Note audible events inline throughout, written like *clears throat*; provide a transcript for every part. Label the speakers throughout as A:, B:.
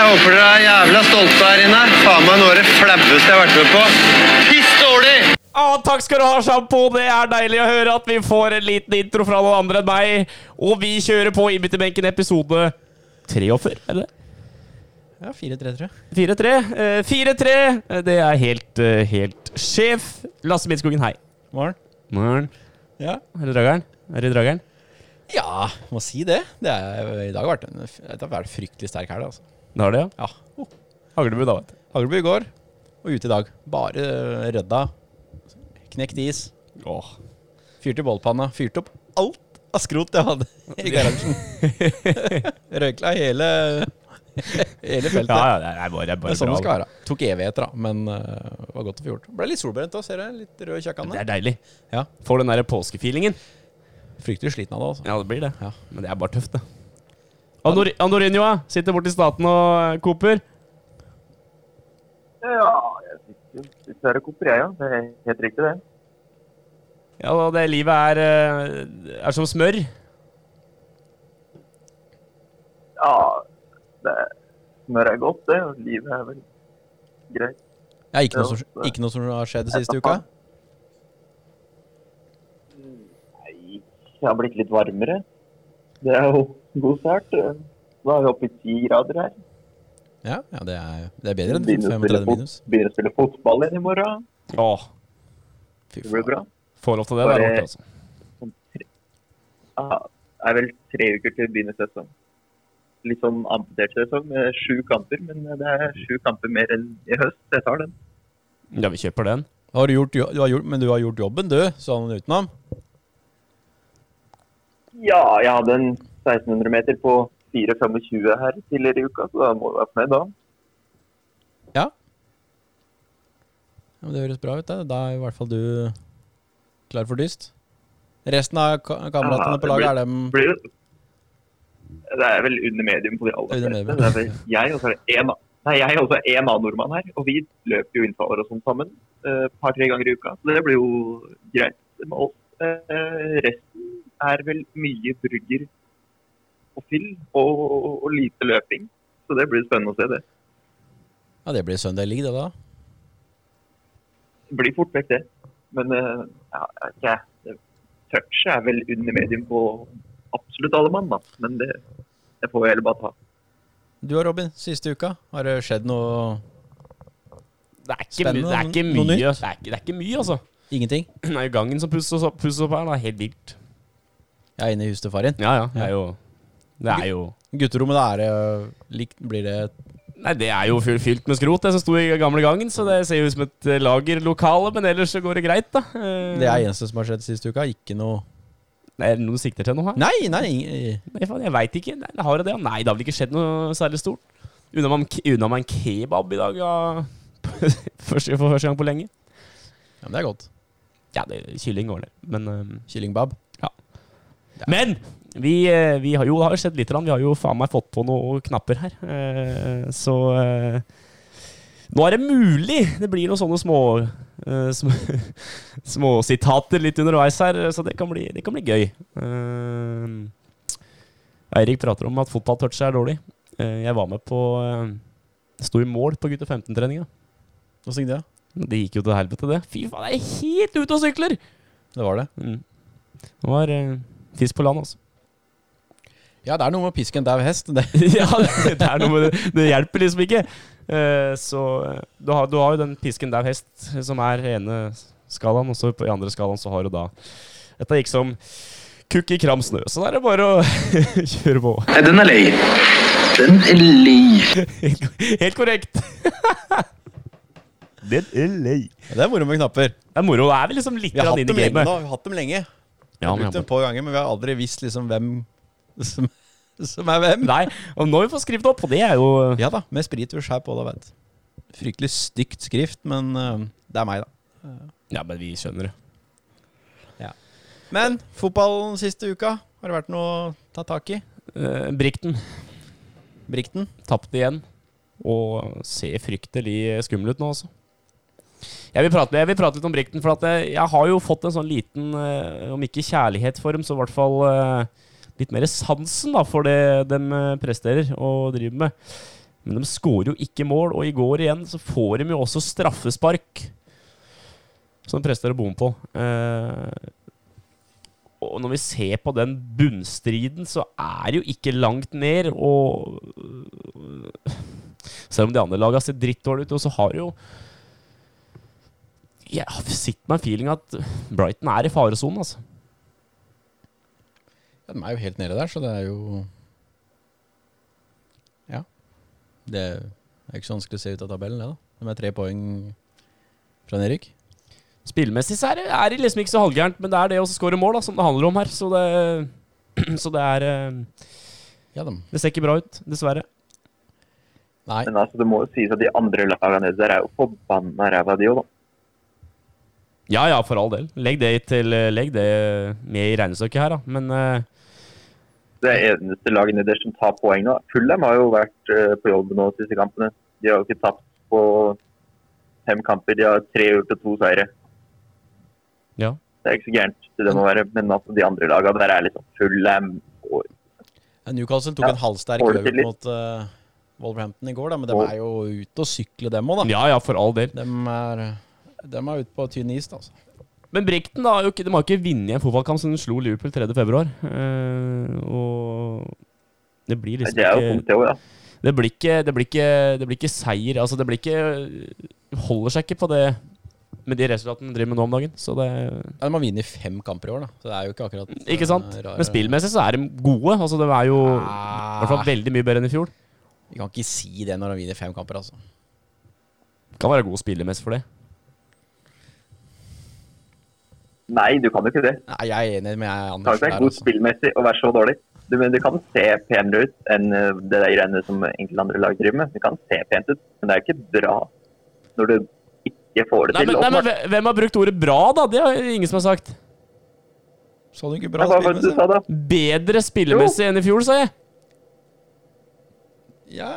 A: Jeg håper dere er jævla stolte her inne. Faen meg noe av det flaueste jeg har vært med på. Piss dårlig!
B: Ah, takk skal du ha, Sjampo. Det er deilig å høre at vi får en liten intro fra noen andre enn meg. Og vi kjører på Innbytterbenken episode 43, er det?
C: Ja, 4-3, tror jeg.
B: 4-3. Eh, 4-3. Eh, Det er helt, eh, helt sjef. Lasse Midtskogen, hei.
C: Morgen.
B: Morn.
C: Ja.
B: Er det drageren? Er det drageren?
C: ja, må si det. det er, I dag har vært en, det har vært fryktelig sterk helg, altså.
B: Det har det, ja.
C: Ja. Oh.
B: Haglebud, da, vet du.
C: Hagleby i går og ute i dag. Bare eh, rødda. Knekt is.
B: Åh.
C: Fyrte i bålpanna. Fyrte opp alt av skrot jeg hadde i garasjen. *laughs* Røykla hele, hele feltet.
B: Ja, ja, det er bare, det er
C: Det
B: bare
C: er sånn
B: bra.
C: det skal være. Tok evigheter, da, men eh, det var godt å få gjort. Ble litt solbrent òg, ser du. Litt rød i
B: Det
C: kjakkene.
B: er deilig.
C: Ja.
B: Får den der påskefeelingen.
C: Fryktelig sliten av det, altså.
B: Ja, det blir det.
C: Ja.
B: Men det er bare tøft, det. Andor Andorinho ja. sitter borti staten og eh, koper.
D: Ja, jeg sitter, sitter her og koper, jeg, ja. Det er helt riktig, det.
B: Ja, og det livet er, eh, er som smør.
D: Ja, det smør er godt, det. Og livet er vel greit.
C: Ja, ikke,
D: Ja,
C: noe som,
D: det-
C: ikke noe som har skjedd siste uka?
D: Nei, det har blitt litt varmere. Det er jo god start. Da er vi oppe i ti grader her.
C: Ja, ja det, er, det er bedre enn
D: Begynner å, spille
C: 35
D: fot,
C: minus.
D: begynner å spille fotball igjen i morgen.
B: Åh,
C: Fy
D: Det blir bra.
B: får lov til det. Det er
D: Bare-
B: rart, altså.
D: Ja, det er vel tre uker til det begynner sesong. Litt sånn amputert sesong med sju kamper, men det er sju kamper mer enn i høst. Jeg tar den.
B: Ja, vi kjøper den.
C: Har du gjort, jo- du har gjort, men du har gjort jobben, du, sånn utenom?
D: Ja, jeg hadde en 1600 meter på 4.25 her tidligere i uka, så da må du være fornøyd da.
C: Ja. ja men det høres bra ut, det. Da er i hvert fall du klar for dyst. Resten av ka kameratene
D: Ja,
C: på
D: det
C: laget,
D: blir-
C: er dem
D: blir jo- Det er vel under medium på de aller
C: Under
D: fleste.
C: medium.
D: Det er vel jeg, og så er det en, a- nei, jeg og så er det en annen nordmann her. Og vi løper jo innfaller og sånn sammen eh, et par-tre ganger i uka. Så det blir jo greit med oss. Eh, resten er vel mye brygger og fyll og, og, og lite løping. Så det blir spennende å se det.
C: Ja, det blir Sunday League, det, da.
D: Det blir fort vekk det. Men eh, ja, ikke jeg. Touchet er vel under medium på absolutt alle mann, da. Men det, det får jeg heller bare ta.
C: Du og Robin, siste uka, har det skjedd noe
B: Det er ikke, my-
C: Spennende,
B: det er ikke
C: noe
B: mye, det
C: nytt?
B: er ikke, det er ikke mye altså. *clears throat*
C: Ingenting?
B: Det er jo gangen som pusses opp, pusses opp her. da, Helt vilt.
C: Jeg er inne i huset til far din.
B: Ja, ja. Det er jo Det er jo,
C: Gutterommet, da er det eh, likt Blir det
B: nei, det er jo fyl- fylt med skrot, det som sto i gamle gangen. Så det ser jo ut som et eh, lagerlokale, men ellers så går det greit, da. Eh,
C: Det er eneste som har skjedd siste uka? Ikke noe
B: Er det noe du sikter til nå her?
C: Nei, nei! ing-
B: Nei, faen, jeg veit ikke. Nei, har det det? Nei, det har vel ikke skjedd noe særlig stort. Unna meg en- unna meg en kebab i dag, ja. *laughs* Første, for første gang på lenge.
C: Ja, men det er godt.
B: Ja, det, kylling går det. Men, øhm,
C: Kyllingbab.
B: men vi, eh, vi har jo har jo sett lite grann. Vi har jo faen meg fått på noen knapper her. Eh, så eh, nå er det mulig det blir noen sånne små eh, små, *laughs* små sitater litt underveis her, eh, så det kan bli, det kan bli gøy. Eh, Eirik prater om at fotballtouchet er dårlig. Eh, jeg var med på eh, Sto i mål på gutte 15-treninga.
C: Åssen gikk det?
B: Det gikk jo til helvete, det. Fy faen, jeg er helt ute og sykler!
C: Det var det.
B: Mm. Det var eh, fisk på land, altså.
C: Ja, det er noe med å piske en dau hest. *laughs* Det.
B: *laughs* ja, det, det er noe med det. Det hjelper liksom ikke. Eh, så eh, du har, du har jo den pisken der hest, eh, som er ene skalaen, og så på- i andre skalaen så har du da Dette gikk som kukk i kram snø, så da er det bare å *laughs* kjøre på. *laughs*
E: Nei, den er lei. Den er lei.
B: Helt, helt
C: *laughs*
B: korrekt. Den er lei.
C: Ja, det er moro med knapper.
B: Det er moro. Da er vi liksom litt
C: Vi har
B: grann
C: hatt
B: inn
C: dem
B: i
C: lenge
B: gamet.
C: nå. Vi har hatt dem lenge.
B: Ja,
C: Brukt
B: men-
C: dem på ganger, men vi har aldri visst liksom hvem *laughs* som, som er hvem.
B: Nei, og nå har vi fått skrevet opp, og det er jo
C: Ja da, med sprittusj her på, da, vet du. Fryktelig stygt skrift, men eh, det er meg, da.
B: Ja, men vi skjønner det.
C: Men fotballen siste uka, har det vært noe å ta tak i?
B: Eh, Brikten
C: Brikten?
B: tapte igjen. Og ser fryktelig skummel ut nå, altså. Jeg vil, prate, jeg vil prate litt om Brikten, for at jeg, jeg har jo fått en sånn liten, eh, om ikke kjærlighet for dem, så i hvert fall eh, litt mer sansen da, for det de presterer og eh, driver med. Men de skårer jo ikke mål, og i går igjen så får de jo også straffespark. Som de prester å bomme på. Eh, og når vi ser på den bunnstriden, så er det jo ikke langt ned. Og øh, selv om de andre laga ser drittdårlig ut, og så har det jo Jeg sitter med en feeling at Brighton er i faresonen, altså.
C: Ja, de er jo helt nede der, så det er jo Ja. Det er det er ikke så vanskelig å se ut av tabellen, det, da. De er tre poeng fra Nerik.
B: Spillmessig så er det, er det liksom ikke så halvgærent, men det er det å skåre mål da, som det handler om her. Så det, *clears throat* så det er eh,
C: Ja, de.
B: Det ser ikke bra ut, dessverre.
C: Nei.
D: Men altså, det må jo sies at de andre lagene nede der er jo forbanna ræva, de òg, da.
B: Ja ja, for all del. Legg det, til, eh, legg det med i regnestykket her, da. Men eh,
D: Det eneste laget nede der som tar poeng nå. Fulham har jo vært eh, på jobb nå de siste kampene. De har jo ikke tapt på fem kamper. De har tre uker til to seire.
B: ja.
D: Det er ikke så gærent til det må være, men altså, de andre lagene der er liksom Fulham og
C: Ja, Eh, Newcastle tok
D: Ja,
C: en halvsterk
D: får det
C: øvelse
D: til litt.
C: mot eh, Wolverhampton i går, da, men de er jo ute og sykle, dem òg, da.
B: ja ja, for all del.
C: De er, de er ute på tynn is, da. Altså.
B: Men Brighton da, har jo ikke, de har ikke vunnet en fotballkamp siden de slo Liverpool 3. februar. Eh, og det blir liksom
D: Det er jo
B: ikke
D: tungt, det òg, ja.
B: det blir ikke, det blir ikke Det blir ikke seier. Altså, det blir ikke Holder seg ikke på det med de resultatene de driver med nå om dagen. Så det
C: Ja, de har vunnet fem kamper i år, da. Så det er jo ikke akkurat eh,
B: Ikke sant?
C: rare-
B: Men spillmessig så er de gode. Altså, de er jo i hvert fall
C: Ah,
B: veldig mye bedre enn i fjor.
C: Vi kan ikke si det når de vinner fem kamper, altså.
B: Kan være god spillermessig for det.
D: Nei, du kan jo ikke det.
C: Nei, jeg er enig med jeg,
D: Det kan
C: Anders
D: ikke
C: der,
D: være god
C: altså.
D: spillmessig å være så dårlig. Du, men det kan se penere ut enn eh, det der greiene som enkelte andre lag driver med. Det kan se pent ut, men det er ikke bra når du ikke får det
B: Nei,
D: til.
B: men, nei, men
D: åpenbart.
B: hve- hvem har brukt ordet bra, da? Det har ingen som har sagt.
C: Sa du ikke
D: Det
C: bra
D: var hva
B: altså.
D: du sa
C: spillmessig?
D: da.
B: Bedre spillemessig enn i fjor, sa jeg.
C: Ja,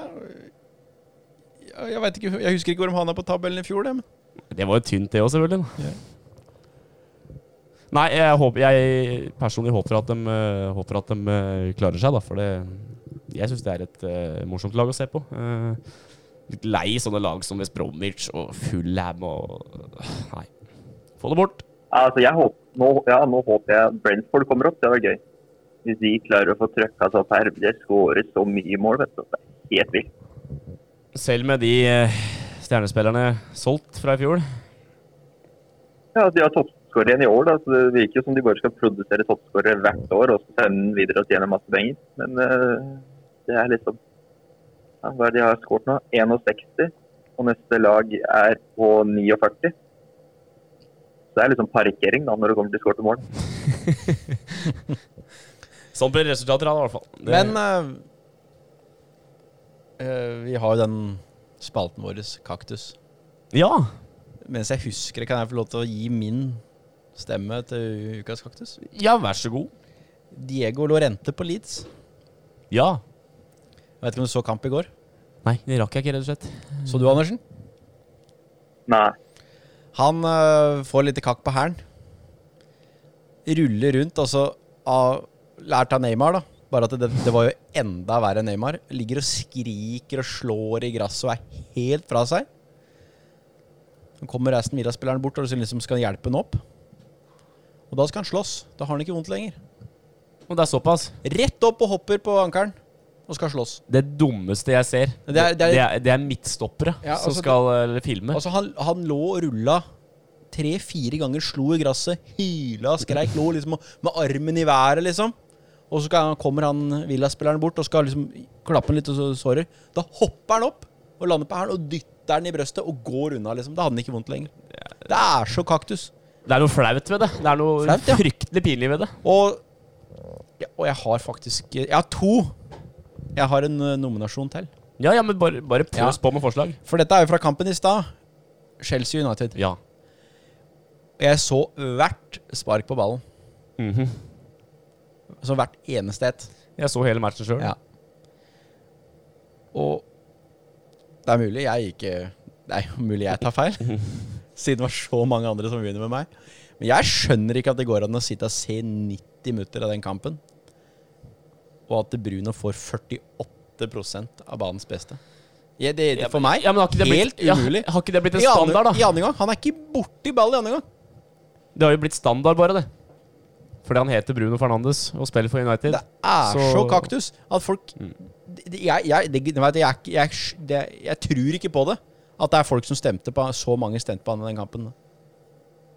C: ja, jeg veit ikke. Jeg husker ikke hvor de havna på tabellen i fjor, det. Men
B: Det var jo tynt, det òg, selvfølgelig. da.
C: Ja.
B: Nei, jeg, håper, jeg personlig håper at de, øh, håper at de øh, klarer seg, da. For det, jeg syns det er et øh, morsomt lag å se på. Eh, litt lei sånne lag som West Bromwich og Fulham og Nei. Få det bort.
D: Altså, jeg håper, nå, ja, nå håper jeg Brentford kommer opp. Det hadde vært gøy. Hvis de klarer å få trøkka seg opp her. Det skåres så mye mål, vet du. Det er helt vilt.
B: Selv med de øh, stjernespillerne solgt fra i fjor.
D: Ja, de har toppskårer igjen i år, da, så det virker jo som de bare skal produsere toppskårere hvert år og så sende den videre og tjene masse penger. Men eh, det er liksom ja, Hva er det de har skåret nå? 61, og neste lag er på 49. Så det er liksom parkering da, når det kommer til skårte mål.
B: Sånn blir resultater av det, i hvert fall. Det-
C: Men eh, eh, vi har jo den spalten vår, Kaktus.
B: Ja.
C: Mens jeg husker det, kan jeg få lov til å gi min stemme til ukas kaktus.
B: Ja, vær så god.
C: Diego Lorente på Leeds.
B: Ja.
C: Jeg vet ikke om du så kamp i går?
B: Nei, det rakk jeg ikke, rett og slett.
C: Så du, Andersen?
D: Nei.
C: Han øh, får litt kakk på hælen. Ruller rundt, og så av, lært av Neymar, da. Bare at det, det var jo enda verre enn Neymar. Ligger og skriker og slår i gresset og er helt fra seg. Så kommer Aston Villa-spilleren bort og så liksom skal han hjelpe han opp. Og da skal han slåss. Da har han ikke vondt lenger.
B: Og det er såpass.
C: Rett opp og hopper på ankelen og skal slåss.
B: Det dummeste jeg ser,
C: Det er- det er-
B: det er midtstoppere
C: Ja,
B: som
C: altså,
B: skal eh, filme.
C: Altså, han, han lå og rulla tre-fire ganger, slo i gresset, hyla, skreik, lå liksom og- med armen i været, liksom. Og så skal- kommer han Villa-spilleren bort og skal liksom klappe han litt og så sårer. Da hopper han opp og lander på hælen og dytter den i brøstet og går unna, liksom. Da hadde han ikke vondt lenger. Det er så kaktus.
B: det er noe flaut ved det. Det er noe
C: Flaut, ja.
B: fryktelig pinlig ved det.
C: Og, ja, og jeg har faktisk Jeg har to. Jeg har en eh, nominasjon til.
B: Ja, ja, men bare, bare pøs
C: Ja.
B: på med forslag.
C: For dette er jo fra kampen i stad. Chelsea United.
B: Ja.
C: Jeg så hvert spark på ballen.
B: Mhm.
C: Så hvert eneste et.
B: Jeg så hele matchen sjøl.
C: Ja. Og det er mulig jeg ikke Det er jo mulig jeg tar feil,
B: Mhm.
C: *laughs* siden det var så mange andre som begynner med meg. Men jeg skjønner ikke at det går an å sitte og se 90 minutter av den kampen, og at De Bruno får 48 av banens beste. Ja, det, det, for meg
B: Ja, men har ikke det
C: helt
B: blitt, ja,
C: umulig.
B: har ikke det blitt en
C: I andre,
B: standard, da?
C: I andre gang. Han er ikke borti ball i andre gang.
B: Det har jo blitt standard, bare det. Fordi han heter Bruno Fernandes og spiller for United.
C: Det er så,
B: Så- Mm.
C: kaktus at folk det- det- Jeg, jeg, det, du vet, jeg, jeg, det, jeg tror ikke på det. At det er folk som stemte på Så mange stemte på han i den kampen.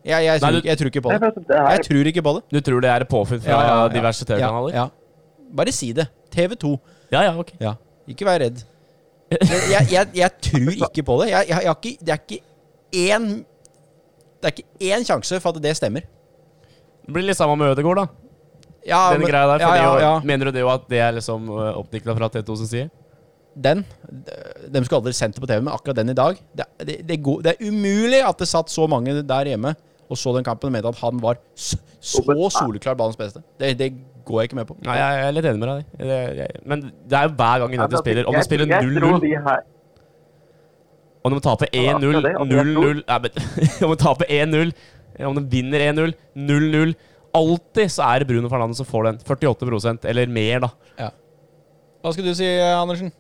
C: Jeg, jeg, tror,
B: du-
C: ikke- jeg tror ikke på
D: Nei,
C: det.
D: for det er-
C: Jeg tror ikke på det.
B: Du tror det er et påfunn fra diverse TV-kanaler?
C: Ja, ja. Bare si det. TV2.
B: Ja, ja, ok.
C: Ja. Ikke vær
B: *laughs*
C: redd. Jeg, jeg, jeg, jeg tror ikke på det. Jeg, jeg, jeg har ikke, det er ikke én Det er ikke én sjanse for at det stemmer.
B: Det blir litt samme med Ødegaard, da.
C: Ja,
B: Den
C: men-
B: greia der.
C: ja,
B: For det
C: ja,
B: jo-
C: ja.
B: Mener du det jo at det er liksom oppdikta fra T2 sin side?
C: Den de- De skulle aldri sendt det på TV, men akkurat den i dag det, det, det, er god- det er umulig at det satt så mange der hjemme og så den kampen og mente at han var s- så soleklar banens beste. Det, det går jeg ikke med på.
B: Nei, jeg jeg er litt enig med deg. Det, jeg, men det er jo hver gang United spiller. Om de
D: altså, Jeg-
B: spiller
D: jeg tror
B: 0-0,
D: de her-
B: om de taper 1-0,
D: Ja, det er det.
B: 0-0 Nei, men *laughs* Om de taper 1-0, om de vinner 1-0, 0-0 Alltid så er det Bruno Fernandes som får den. 48 eller mer, da.
C: Hva skal du si, Andersen?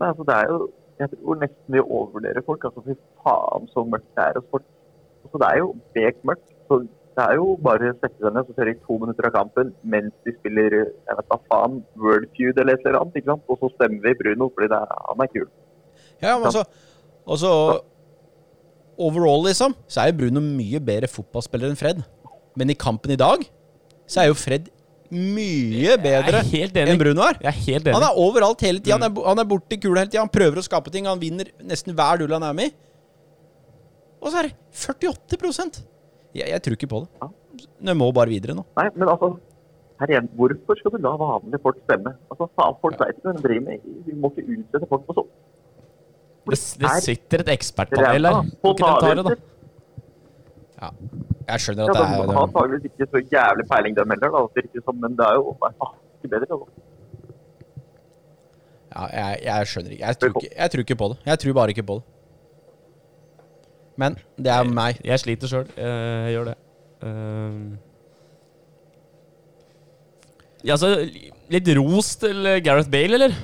D: Nei, altså det er jo Jeg tror nesten vi overvurderer folk. Altså fy faen så mørkt det er hos folk. Altså det er jo bekmørkt. Så det er jo bare å sette seg ned og kjøre i to minutter av kampen mens de spiller jeg vet da faen, World Feud eller et eller annet. ikke sant? Og så stemmer vi Bruno fordi det er, han er kul.
C: Ja, men altså, altså Overall, liksom, så er jo Bruno mye bedre fotballspiller enn Fred. Men i kampen i dag så er jo Fred mye bedre
B: helt enig.
C: enn Bruno er.
B: Jeg er helt enig.
C: Han er overalt hele tida. Han, er bo- han er borti kula hele tida. Han prøver å skape ting. Han vinner nesten hver duell han er med i. Og så er det 48 jeg, jeg tror ikke på det. Jeg må bare videre nå.
D: Nei, men altså her igjen, Hvorfor skal du la vanlige folk stemme? Altså, faen, Folk vet ikke hva de driver med. Vi må ikke utsette folk for sånt.
B: Det, det
D: Er-
B: sitter et ekspertpanel her. Kan ikke de ta det, da?
C: Jeg skjønner
D: Ja,
C: at
D: de
C: det er
D: har antakeligvis ikke så jævlig peiling, dem heller. da, virker det som, Men det er jo nei, faen, ikke bedre. altså. da.
C: ja, jeg, jeg skjønner ikke. Jeg, tror ikke. jeg tror ikke på det. Jeg tror bare ikke på det. Men det er meg.
B: Jeg sliter sjøl. Jeg gjør det. Ehm. Ja, altså, litt ros til eh, Gareth Bale, eller?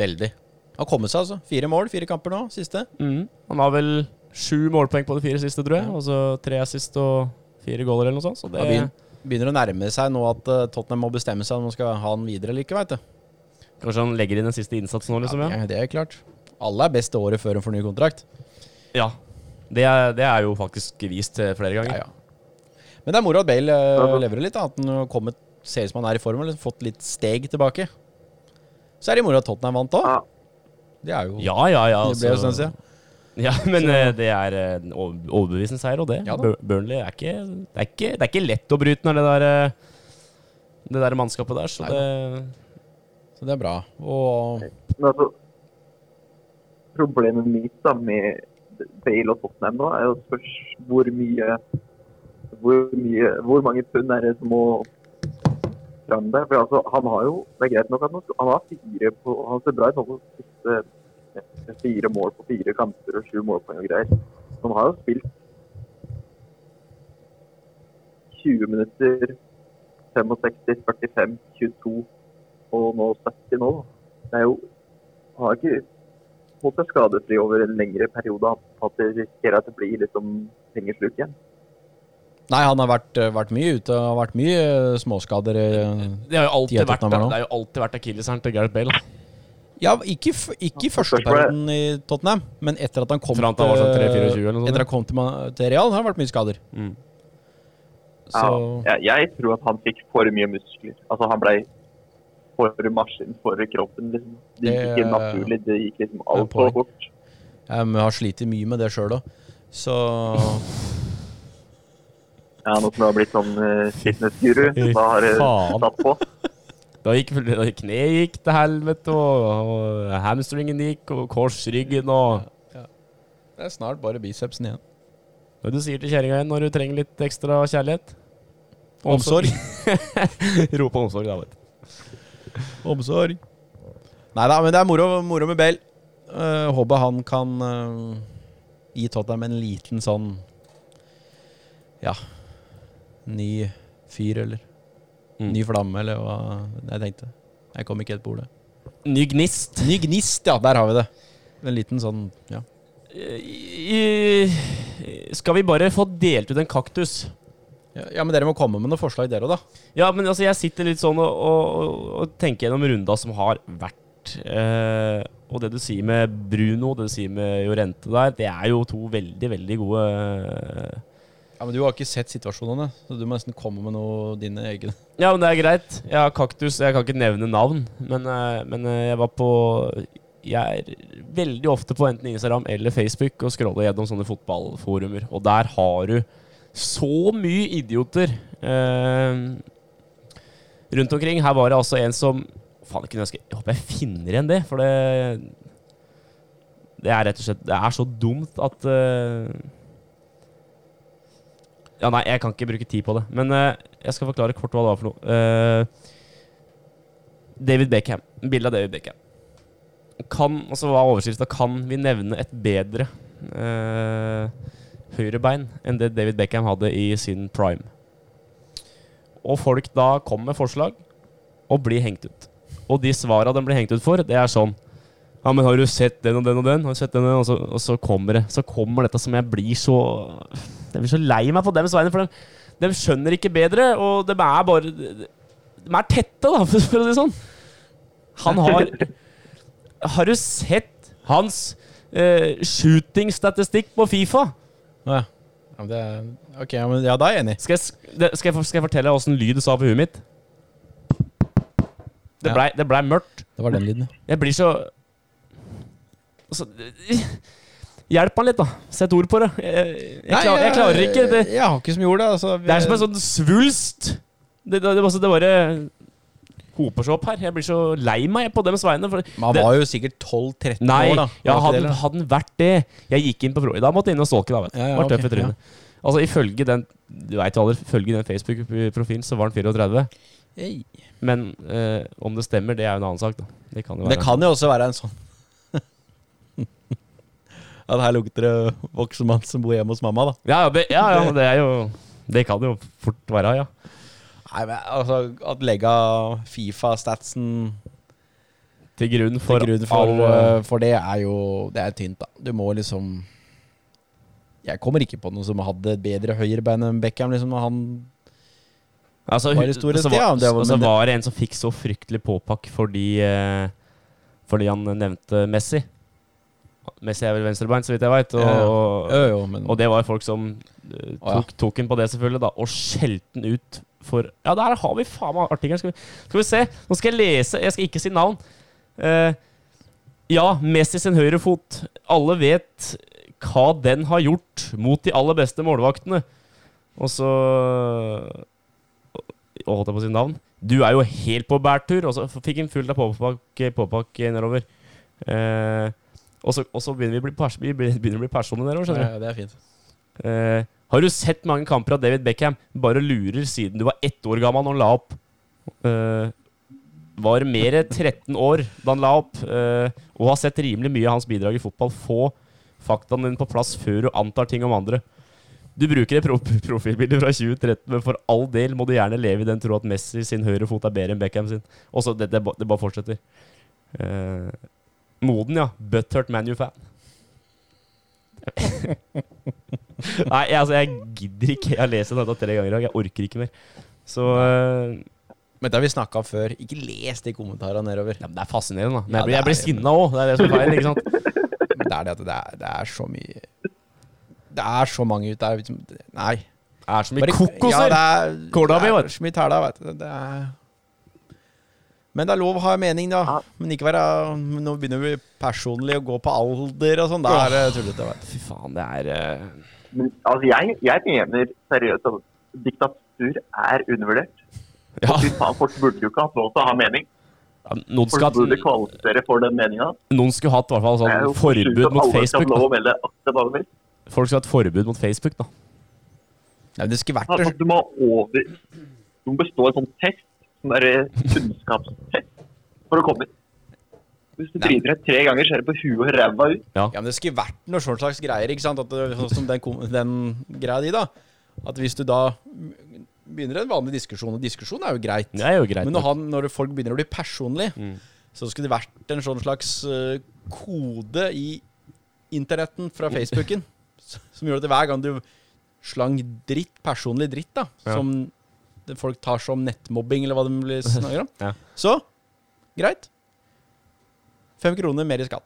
C: Veldig. Har kommet seg, altså. Fire mål, fire kamper nå. Siste.
B: Han har vel sju målpoeng på de fire siste, tror jeg. Og så tre assist og fire goaler, eller noe sånt. Så
C: Det
B: det,
C: begyn- begynner å nærme seg nå at eh, Tottenham må bestemme seg om de skal ha han videre eller ikke, veit du.
B: kanskje han legger inn den siste innsatsen nå, liksom? Ja.
C: Ja, det er klart. Alle er best det året før de får ny kontrakt.
B: ja. Det, er, det er jo faktisk vist eh, flere ganger.
C: Ja, ja. Men det er moro at Bale uh, leverer litt. da. At han har kommet, ser ut som han er i form, eller fått litt steg tilbake. Så er det moro at Tottenham vant òg.
D: Ja.
C: Det er jo
B: Ja, ja, ja.
C: Det ble jo
B: altså.
C: sånn, sier jeg.
B: Ja, *laughs* men eh, det er eh, en over- overbevisende seier, og det.
C: Ja da.
B: Bur- Burnley er ikke det er ikke, det er ikke lett å bryte når det der eh, Det der mannskapet der, så
C: Nei
B: det
C: Så det er bra. Og
D: Men altså, problemet mitt da med Bale og Tottenham nå, er jo først hvor mye hvor, mye, hvor mange pund er det som må fram der? For altså, han har jo Det er greit nok at han, han har fire på Han ser bra ut nå på siste eh, fire mål på fire kamper og sju målpoeng og greier. Men han har jo spilt 20 minutter, 65, 45, 22 og nå 70 nå. da. Det er jo Han har ikke holdt seg skadefri over en lengre periode. Han at det risikerer at det blir liksom pengesluk igjen.
C: Nei, han har vært, eh, vært mye ute og vært mye eh, småskader. eh.
B: Det har jo
C: De er
B: alltid vært,
C: Tottenham nå.
B: det har jo alltid vært akilleshæren til Gareth Bale. da.
C: Ja, ikke, f ikke i første
D: Spørsmålet-
C: perioden i Tottenham, men etter at han kom
B: Fra at han var sånn 3-24 eller noe sånt.
C: Etter at han kom til, Ma- til Real, har det vært mye skader.
B: Mm.
C: Så
D: Ja, jeg, jeg tror at han fikk for mye muskler. Altså, han blei for maskin for kroppen. liksom. Det
C: Det-
D: gikk
C: eh,
D: ikke naturlig. Det gikk liksom
C: er
D: altfor
C: poeng.
D: fort.
C: jeg har slitt mye med det sjøl òg. Så
D: *laughs* Ja, nå som du har blitt sånn eh,
C: *laughs*
D: fitnessguru, da har det
B: Faen.
D: satt på.
B: Da gikk *laughs* da gikk kneet gikk til helvete, og, og hamstringen gikk, og korsryggen og
C: Det er snart bare bicepsen igjen.
B: Hva er det du sier til kjerringa igjen når du trenger litt ekstra kjærlighet?
C: Omsorg.
B: *laughs* Rop om omsorg, da, vet du.
C: *laughs* Omsorg. Nei da, men det er moro, moro med Bale. Eh, håper han kan eh, gi Tottenham en liten sånn Ja Ny fyr, eller
B: Mm.
C: ny flamme, eller hva jeg tenkte. Jeg kom ikke helt på ordet.
B: Ny gnist.
C: Ny gnist, ja. Der har vi det. En liten sånn ja.
B: I, skal vi bare få delt ut en kaktus?
C: Ja, ja, men dere må komme med noen forslag, dere òg, da.
B: Ja, men altså, jeg sitter litt sånn og, og, og- og tenker gjennom runda som har vært. Eh, og det du sier med Bruno, det du sier med Jorente der, det er jo to veldig, veldig gode
C: Ja, Men du har ikke sett situasjonene, så du må nesten komme med noe dine egne.
B: Ja, men det er greit. Jeg har kaktus, jeg kan ikke nevne navn. Men, eh, men eh, jeg var på Jeg er veldig ofte på enten Instagram eller Facebook og scroller gjennom sånne fotballforumer. Og der har du så mye idioter eh, rundt omkring. Her var det altså en som Faen, jeg kunne ønske Jeg håper jeg finner igjen det, for det Det er rett og slett Det er så dumt at eh, ja, nei, jeg kan ikke bruke tid på det. Men eh, jeg skal forklare kort hva det var for noe. Eh, David Beckham. Bilde av David Beckham. Kan, altså, og så var overskrifta 'Kan vi nevne et bedre eh, høyrebein enn det David Beckham hadde i sin prime?' Og folk da kom med forslag, og blir hengt ut. Og de svara de blir hengt ut for, det er sånn ja, men har du sett den og den og den? Har du sett den Og den? Og så, og så kommer det. Så kommer dette som jeg blir så Jeg blir så lei meg på dems vegne, for de, de skjønner ikke bedre, og de er bare De er tette, da, *laughs* for, for å si det sånn. Han har Har du sett hans eh, shootingstatistikk på Fifa?
C: Ja, ja, men det er, ok, ja, men ja, da er jeg enig.
B: Skal jeg, s- det- skal jeg, for- skal jeg fortelle åssen lyd det sa på huet mitt? Det
C: Ja.
B: blei det blei mørkt.
C: Det var den lyden.
B: Jeg blir så altså, Hjelp meg litt, da. Sett ord på det. Jeg, jeg, klar, jeg klarer ikke det.
C: Jeg har ikke så mye ord, da. Altså,
B: Det er som en sånn svulst. Det, det, det, altså, det bare hoper seg opp her. Jeg blir så lei meg på dems vegne. For
C: Man
B: det,
C: var jo sikkert 12-13
B: nei,
C: år, da.
B: ja,
C: Var
B: hadde,
C: ikke det,
B: den-
C: eller?
B: hadde den vært det Jeg gikk inn på Pro... Da måtte jeg inn og stalke, da. vet du.
C: Ja, ja,
B: Var tøff
C: ok,
B: i trynet. Altså, ifølge den Du vet jo aldri, ifølge den Facebook-profilen så var han 34.
C: Ei.
B: Men eh, om det stemmer, det er jo en annen sak, da. Det kan jo
C: Men
B: være.
C: det kan jo også være en sånn *laughs* At her lukter det voksen mann som bor hjemme hos mamma, da.
B: Ja, ja, det, ja,
C: *laughs*
B: ja, det er jo Det kan jo fort være, ja.
C: Nei, men altså, At legga Fifa-statsen
B: Til grunn
C: til
B: for,
C: grunn for,
B: all,
C: eh, for det, er jo Det er tynt, da. Du må liksom Jeg kommer ikke på noen som hadde bedre høyrebein enn Beckham. liksom når han
B: altså,
C: var
B: hun-
C: det store
B: så
C: tida,
B: var,
C: det var-
B: og så
C: men det-
B: var det en som fikk så fryktelig påpakk fordi, eh, fordi han nevnte Messi. Messi er vel venstrebeint, så vidt jeg veit. Og,
C: Ja, ja.
B: og,
C: Jo, jo, men
B: og det var folk som eh,
C: Å, ja.
B: tok, tok en på det, selvfølgelig, da, og skjelte den ut for Ja, der har vi faen meg artikkelen. Skal, vi- skal vi se. Nå skal jeg lese. Jeg skal ikke si navn. Eh, ja, Messi sin høyrefot. Alle vet hva den har gjort mot de aller beste målvaktene. Og så Å, holdt jeg på å si navn? Du er jo helt på bærtur. Og så fikk han fullt av påpakke, påpakke nedover. Eh, og så og så begynner vi å bli, pers vi begynner å bli personlige nedover, skjønner du.
C: Ja, det er fint.
B: Eh, har du sett mange kamper av David Beckham? Bare lurer siden du var ett år gammel når han la opp. Eh, var mer 13 år da han la opp, eh, og har sett rimelig mye av hans bidrag i fotball. Få faktaene dine på plass før du antar ting om andre. Du bruker et pro *laughs* profilbilde fra 2013, men for all del må du gjerne leve i den tro at Messi sin høyre fot er bedre enn Beckham sin. Og så, det, det, ba- det bare fortsetter. Eh, moden, ja. Butthurt ManU-fan. Nei, jeg, altså, jeg gidder ikke. Jeg har lest dette tre ganger i dag. Jeg orker ikke mer. Så eh,
C: Men det har vi snakka om før. Ikke les de kommentarene nedover.
B: ja, men Det er fascinerende, da. Men
C: Ja,
B: jeg blir, jeg
C: det
B: blir
C: er-
B: sinna òg. Det er det som er feil. ikke sant?
C: Men det er det at det er, det er så mye Det er så mange ute der liksom, det- Nei.
B: Det er så
C: Bare-
B: mye kokoser!
C: Ja, det er,
B: Kåla mi,
C: det
B: vet
C: er
B: du.
C: så mye tæla, vet du. Det er men det er lov å ha mening, da. Men ikke være Nå begynner vi personlig å gå på alder og sånn. Det er det tullete. Vet. du.
B: Fy faen, det er eh,
D: Men altså, jeg, jeg mener seriøst at diktatur er undervurdert.
B: Ja,
D: Fy faen, folk burde jo ikke hatt lov til å ha mening.
B: noen
D: Folk burde
B: skulle,
D: kvalifisere for den meninga.
B: noen skulle hatt i hvert fall
D: Det er jo
B: sånn
D: sjukt at
B: forbud mot
D: alle skal
B: Facebook. altså.
D: få
B: Da.
D: lov å melde akkurat hva de vil.
B: Folk skulle hatt forbud mot Facebook, da.
C: Nei, det skulle vært
D: Altså,
C: det.
D: du må over Du må bestå en sånn test, sånn der kunnskapstest, for å komme inn. Hvis du
C: Nei.
D: driter deg tre ganger, så er det på huet og ræva ut.
C: Ja, men det skulle vært noe sånn slags greier, ikke sant? At det, sånn som den, kom- den greia di, da. At hvis du da begynner en vanlig diskusjon, og diskusjon er jo greit.
B: Det er jo greit.
C: Men når,
B: nok. Mm.
C: han, når folk begynner å bli personlige, Så skulle det vært en sånn slags eh, kode i internetten
B: Mm.
C: fra
B: *laughs*
C: Facebooken s- som gjorde at hver gang du slang dritt, personlig dritt, da,
B: Ja.
C: som det folk tar som nettmobbing, eller hva de
B: *laughs*
C: blir- snakker om,
B: Ja.
C: så greit. Fem kroner mer i skatt.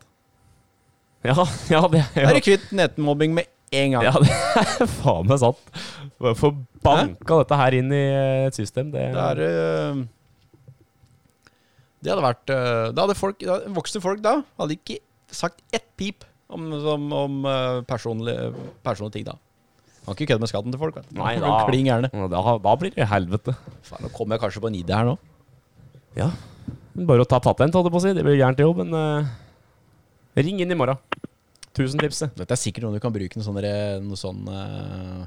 B: *laughs* Ja, ja, det
C: Da
B: ja.
C: er du kvitt nettmobbing med en gang.
B: ja, det er faen meg sant. Bare Få banka dette her inn i eh, et system. Det,
C: Det er øh, Det hadde vært øh, Da hadde folk, da, voksne folk da hadde ikke sagt ett pip om, om, om øh, personlige, personlige ting da. Kan ikke kødde med skatten til folk. Vet. du.
B: Nei,
C: Det
B: da-
C: blir Klin gærne.
B: da, da blir det helvete.
C: Faen, Nå kommer jeg kanskje på en idé her nå.
B: Ja. Bare å ta patent, holdt jeg på å si. Det blir gærent jobb, men eh, ring inn i morgen. Tusentipset.
C: Dette er sikkert noe du kan bruke noe sånn derre- Noe sånn øh,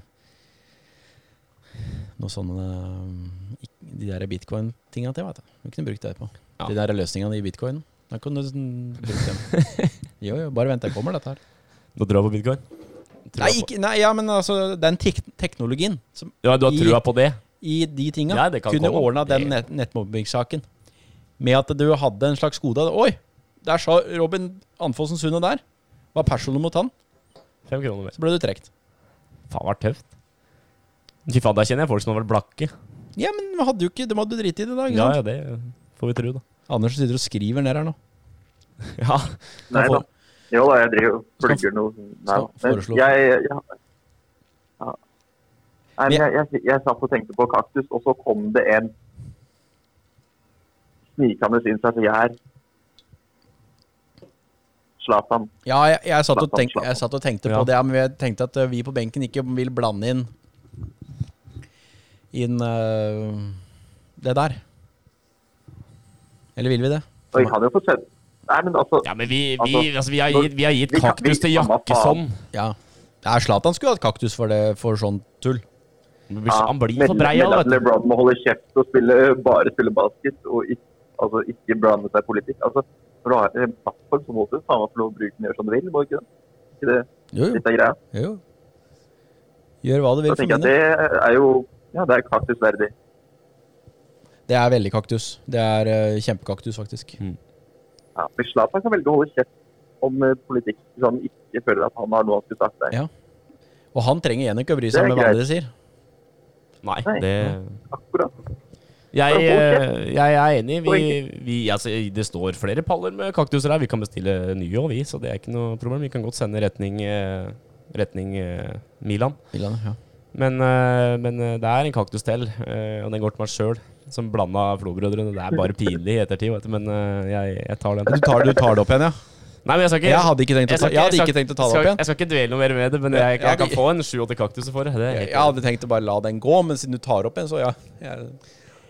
C: Noe sånn øh, ikk- De der bitcoin-tinga til, vet du. Du kunne brukt det på.
B: Ja.
C: De der løsningene i bitcoin. Da kan du sånn, bruke dem. *laughs* jo, jo, bare vent, det kommer, dette her.
B: Nå drar jeg på bitcoin. Tror
C: Nei,
B: jeg på-
C: ikke, nei, ja, men altså, den tek teknologien som
B: Ja, du har trua på det?
C: i de tinga
B: Ja, det kan
C: kunne
B: komme.
C: ordna den net nettmobbingsaken med at du hadde en slags kode Oi, der sa Robin Anfossen Sunde der. Var personlig mot han,
B: Fem kroner mer.
C: så ble du trukket.
B: Faen, var tøft. Fy faen, da kjenner jeg folk som har vært blakke.
C: Ja, men vi hadde jo ikke, det måtte du drite i det, da. Ikke
B: Ja,
C: sant?
B: ja, det får vi tro, da.
C: Anders sitter og skriver ned her nå.
B: *laughs* Ja,
D: Nei da. Jo da, jeg driver og plugger noe Nei,
C: skal foreslå.
D: jeg, jeg, jeg, ja. Nei, men jeg, jeg, jeg satt og tenkte på kaktus, og så kom det en snikende inn seg til her. Slatan.
C: Ja, jeg, jeg, satt, og
D: Slapp av,
C: tenk,
D: slapp av.
C: jeg satt og tenkte
B: Ja.
C: på det, men jeg tenkte at eh, vi på benken ikke vil blande inn Inn eh, det der. Eller vil vi det?
D: Og jeg kan jo få sett Nei, men altså
B: ja men vi, vi,
D: Altså,
B: altså, vi, har
D: når-
B: gitt, vi har gitt
D: vi kan-
B: kaktus
D: vi-
B: til sånn.
D: samme
B: Jakkesson.
C: Ja. Ja, Zlatan skulle hatt kaktus for, det, for sånn tull.
B: Men
D: ja,
B: Han blir
D: men-
B: for brei
D: men
B: av
D: at
B: det, vet du.
D: LeBron må holde kjeft og spille, bare spille basket, og ikke, altså, ikke blande seg i politikk. Altså, når du har en plattform, så må du faen meg få lov å bruke den gjøre som du vil, må du ikke det? Ikke det,
C: Jo, jo.
D: litt av greia.
C: jo. Gjør hva du vil
D: Da
C: for
B: sånn
D: tenker jeg at
C: mine.
D: det er jo Ja, det er kaktus verdig.
C: Det er veldig kaktus. Det er eh, kjempekaktus, faktisk.
D: Ja, men Zlatan kan velge å holde kjeft om eh, politikk hvis han ikke føler at han har noe han skulle sagt der.
C: Ja. Og han trenger igjen ikke å bry
D: Det
C: seg
D: er
C: om hva
D: greit.
C: andre sier.
B: Nei,
D: Nei.
B: det
D: Akkurat.
B: Jeg,
D: Bare hold
B: eh, jeg er enig. Vi,
D: Og
B: vi, altså, det står flere paller med kaktuser her. Vi kan bestille nye òg, vi. Så det er ikke noe problem. Vi kan godt sende retning, eh, retning eh, Milan.
C: Milan, ja.
B: Men, eh, men eh, det er en kaktus til, eh, og den går til meg sjøl. Som blanda Flo-brødrene. Det er bare pinlig i ettertid, vet du. Men eh, jeg, jeg tar den.
C: Du tar, du tar det opp igjen, ja?
B: Nei, men jeg skal ikke
C: Jeg hadde ikke tenkt å ta-
B: skal
C: jeg hadde ikke tenkt å ta det opp
B: skal-
C: igjen.
B: Jeg skal ikke dvele noe mer ved det, men jeg, jeg,
C: Ja,
B: kan
C: vi-
B: få en sju-åtte kaktuser for det. det er helt-
C: Jeg hadde tenkt å bare la den gå, men siden du tar opp en, så ja. Jeg,